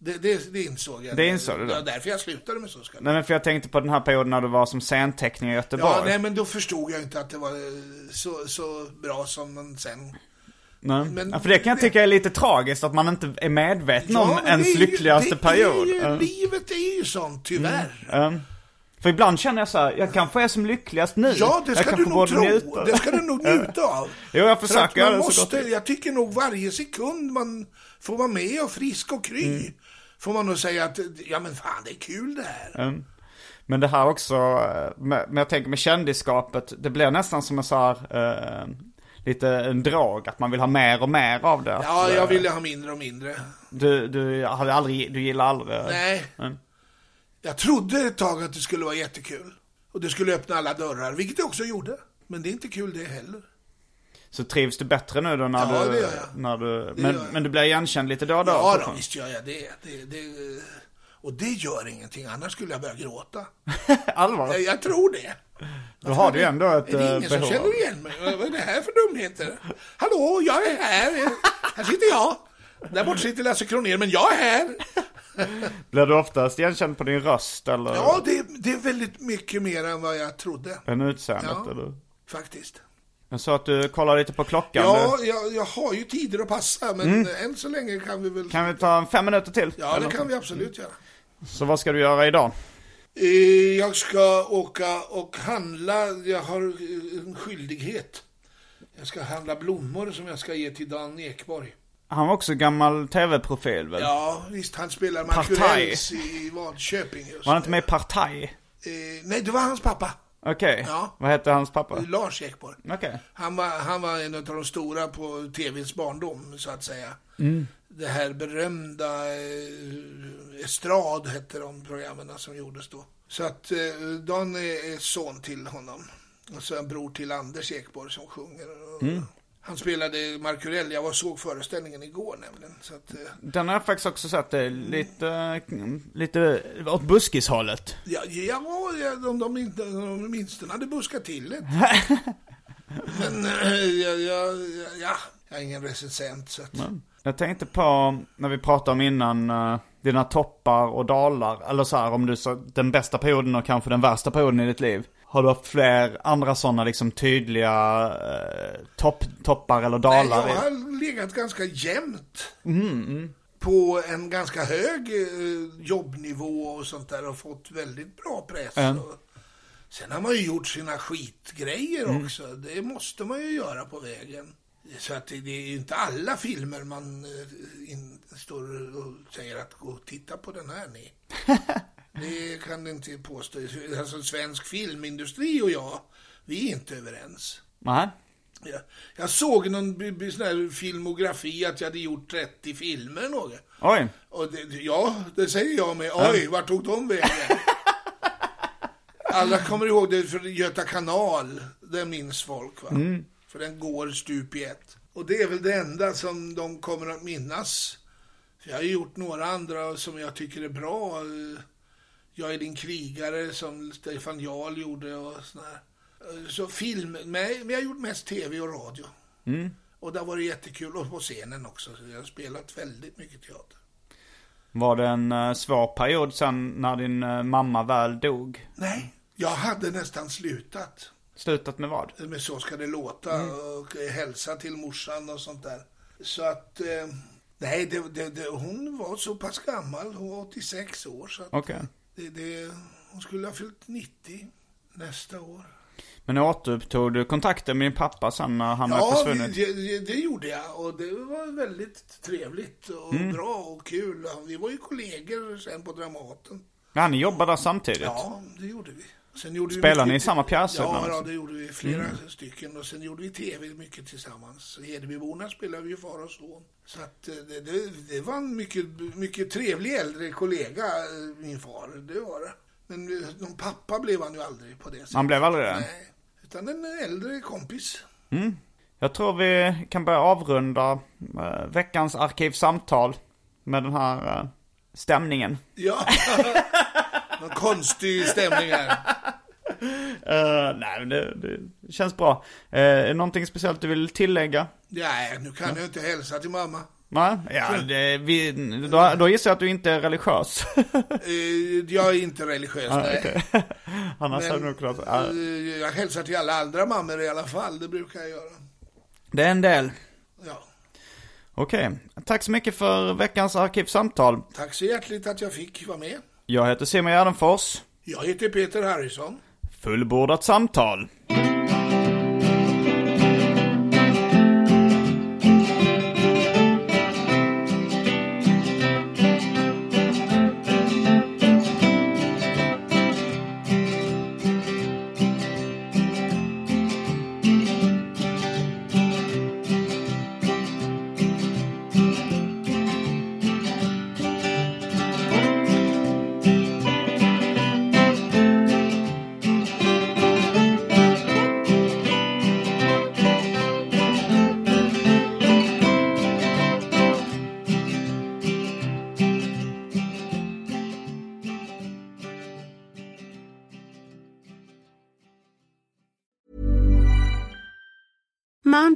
Speaker 3: Det, det, det insåg jag.
Speaker 2: Det insåg du då?
Speaker 3: Ja, därför jag slutade med så skall
Speaker 2: nej, men för jag tänkte på den här perioden när du var som scentekniker i Göteborg.
Speaker 3: Ja, nej men då förstod jag inte att det var eh, så, så bra som man sen...
Speaker 2: Nej.
Speaker 3: men-
Speaker 2: ja, för det kan jag tycka är lite tragiskt att man inte är medveten om
Speaker 3: men det är
Speaker 2: ens
Speaker 3: ju-
Speaker 2: lyckligaste
Speaker 3: det är
Speaker 2: period.
Speaker 3: ju-
Speaker 2: Ja. Mm,
Speaker 3: Livet är ju sånt, tyvärr.
Speaker 2: För ibland känner jag så här, jag kanske är som lyckligast nu.
Speaker 3: Ja, det
Speaker 2: jag
Speaker 3: ska
Speaker 2: kanske
Speaker 3: du nog
Speaker 2: borde
Speaker 3: tro.
Speaker 2: njuta.
Speaker 3: Det ska du nog njuta av.
Speaker 2: Jo, jag
Speaker 3: För
Speaker 2: försöker
Speaker 3: att
Speaker 2: göra
Speaker 3: man
Speaker 2: det så
Speaker 3: måste,
Speaker 2: gott.
Speaker 3: Jag tycker nog varje sekund man får vara med och frisk och kry.
Speaker 2: Mm.
Speaker 3: Får man nog säga att, ja men fan det är kul det här.
Speaker 2: Men det här också, eh, med, men jag tänker med kändisskapet, det blir nästan som en så här, eh, lite en drag, att man vill ha mer och mer av det.
Speaker 3: Ja,
Speaker 2: Att, eh,
Speaker 3: jag ville ha mindre och mindre.
Speaker 2: Du, du hade aldrig, du gillar aldrig...
Speaker 3: Nej.
Speaker 2: Mm.
Speaker 3: Jag trodde ett tag att det skulle vara jättekul. Och det skulle öppna alla dörrar, vilket det också gjorde. Men det är inte kul det heller.
Speaker 2: Så trivs du bättre nu då när
Speaker 3: Ja,
Speaker 2: du...
Speaker 3: det gör jag.
Speaker 2: När du
Speaker 3: gör
Speaker 2: men,
Speaker 3: jag.
Speaker 2: men du blir igenkänd lite då och då?
Speaker 3: Ja, då,
Speaker 2: fortfarande.
Speaker 3: visst gör jag det. det, det och det gör ingenting, annars skulle jag börja gråta.
Speaker 2: Allvar?
Speaker 3: Jag, jag tror det.
Speaker 2: Då har du ju ändå ett
Speaker 3: Är det ingen
Speaker 2: eh, behov
Speaker 3: som
Speaker 2: av-
Speaker 3: känner igen mig? Vad vad är det här för dumheter? Hallå, jag är här. Här sitter jag. Där borta sitter Lasse Kronér, men jag är här.
Speaker 2: Blir du oftast igenkänd på din röst eller?
Speaker 3: Ja, det, det är väldigt mycket mer än vad jag trodde,
Speaker 2: Än utseendet
Speaker 3: Ja.
Speaker 2: eller?
Speaker 3: faktiskt.
Speaker 2: Jag sa att du kollar lite på klockan.
Speaker 3: Ja,
Speaker 2: Du- Mm.
Speaker 3: jag, jag har ju tider att passa, men än så länge kan vi väl...
Speaker 2: Kan Mm. vi ta fem minuter till?
Speaker 3: Ja,
Speaker 2: Eller
Speaker 3: det kan
Speaker 2: något?
Speaker 3: vi absolut göra.
Speaker 2: Så vad ska du göra idag?
Speaker 3: Eh, Jag ska åka och handla. Jag har eh, en skyldighet. Jag ska handla blommor som jag ska ge till Dan Ekborg.
Speaker 2: Han var också gammal tv-profil väl?
Speaker 3: Ja, visst, han spelar
Speaker 2: Partaj.
Speaker 3: Markurells i Vadköping just.
Speaker 2: Var han inte med i Partaj?
Speaker 3: Eh, Nej, det var hans pappa.
Speaker 2: Okej.
Speaker 3: Ja.
Speaker 2: Vad hette hans pappa? Okej.
Speaker 3: Lars Ekborg. Han var, han var en av de stora på tvns barndom, så att säga.
Speaker 2: Mm.
Speaker 3: Det här berömda eh, Estrad hette de programmen som gjordes då. Så att eh, Dan är är son till honom. Och så en bror till Anders Ekborg som sjunger. Och
Speaker 2: Mm.
Speaker 3: Han spelade Markurell, jag var, såg föreställningen igår nämligen. Så att, eh,
Speaker 2: Den har jag faktiskt också sett, det är lite, eh, lite åt buskishållet.
Speaker 3: Ja, ja, ja de, de, inte, de åtminstone hade buskat till det. Men eh, ja, ja, ja, ja, jag är ingen recensent så att...
Speaker 2: Jag tänkte på, när vi pratade om innan, eh, dina toppar och dalar. Eller så här, om du sa den bästa perioden och kanske den värsta perioden i ditt liv. Har du haft fler andra sådana liksom tydliga eh, topp, toppar eller
Speaker 3: Nej,
Speaker 2: dalar?
Speaker 3: jag
Speaker 2: i-
Speaker 3: har legat ganska jämnt. på en ganska hög eh, jobbnivå och sånt där och fått väldigt bra press. Och sen har man ju gjort sina skitgrejer också. Det måste man ju göra på vägen. Så att det, det är ju inte alla filmer man eh, in, står och säger att gå och titta på den här ni. Det kan det inte påstå. Alltså svensk filmindustri och jag, vi är inte överens.
Speaker 2: Nej.
Speaker 3: Ja. Jag såg någon b- b- sån här filmografi att jag hade gjort 30 filmer något.
Speaker 2: Oj.
Speaker 3: Och det, ja, det säger jag med. Oj, vart tog de vägen? Alla kommer ihåg det för Göta kanal. Det minns folk va? För den går stup i ett. Och det är väl det enda som de kommer att minnas. För Jag har ju gjort några andra som jag tycker är bra. Eh, Jag är din krigare som Stefan Jarl gjorde och sådär. Så film, nej, men jag har gjort mest tv och radio. Och det har varit jättekul. Och på scenen också. Så jag har spelat väldigt mycket teater.
Speaker 2: Var det en eh, svår period sen när din eh, mamma väl dog?
Speaker 3: Nej, jag hade nästan slutat.
Speaker 2: Slutat med vad?
Speaker 3: Men så ska det låta.
Speaker 2: Mm.
Speaker 3: Och eh, hälsa till morsan och sånt där. Så att, eh, nej, det, det, det, hon var så pass gammal. Hon var 86 år. Så att
Speaker 2: Okej.
Speaker 3: det, det, hon skulle ha fyllt 90 nästa år.
Speaker 2: Men återupptog du kontakten med din pappa sen när han hade
Speaker 3: Ja,
Speaker 2: försvunnit?
Speaker 3: det, det, det gjorde jag. Och det var väldigt trevligt och
Speaker 2: Mm.
Speaker 3: bra och kul. Vi var ju kollegor sen på Dramaten.
Speaker 2: Men han jobbade där samtidigt?
Speaker 3: Ja, det gjorde vi. Sen gjorde
Speaker 2: Spelar
Speaker 3: vi
Speaker 2: ni i samma pjäser
Speaker 3: Ja,
Speaker 2: ibland?
Speaker 3: ja, det gjorde vi. Flera
Speaker 2: Mm.
Speaker 3: stycken. Och sen gjorde vi tv mycket tillsammans. Hedebyborna spelade vi ju far och son. Så att eh, det, det, det var en mycket, mycket trevlig äldre kollega, eh, min far. Det var det. Men eh, någon pappa blev han ju aldrig på det sättet.
Speaker 2: Han blev aldrig det?
Speaker 3: Nej. Utan en eh, äldre kompis.
Speaker 2: Jag tror vi kan börja avrunda eh, veckans arkivsamtal med den här eh, stämningen.
Speaker 3: Ja. Någon konstig stämning här.
Speaker 2: Eh, nej, men det, det känns bra. Eh, är det någonting speciellt du vill tillägga?
Speaker 3: Nej, nu kan jag inte hälsa till mamma.
Speaker 2: Nej? Ja, det, vi, då, då gissar jag att du inte är religiös.
Speaker 3: Eh, Jag är inte religiös, nej.
Speaker 2: Annars hade du
Speaker 3: Men,
Speaker 2: nog kunnat... ja.
Speaker 3: eh, jag hälsar till alla andra mammor i alla fall, det brukar jag göra.
Speaker 2: Det är en del.
Speaker 3: Ja.
Speaker 2: Okej, tack så mycket för veckans arkivsamtal.
Speaker 3: Tack så hjärtligt att jag fick vara med.
Speaker 2: Jag heter Simon Gärdenfors.
Speaker 3: Jag heter Peter Harrison.
Speaker 2: Fullbordat samtal.
Speaker 5: Mom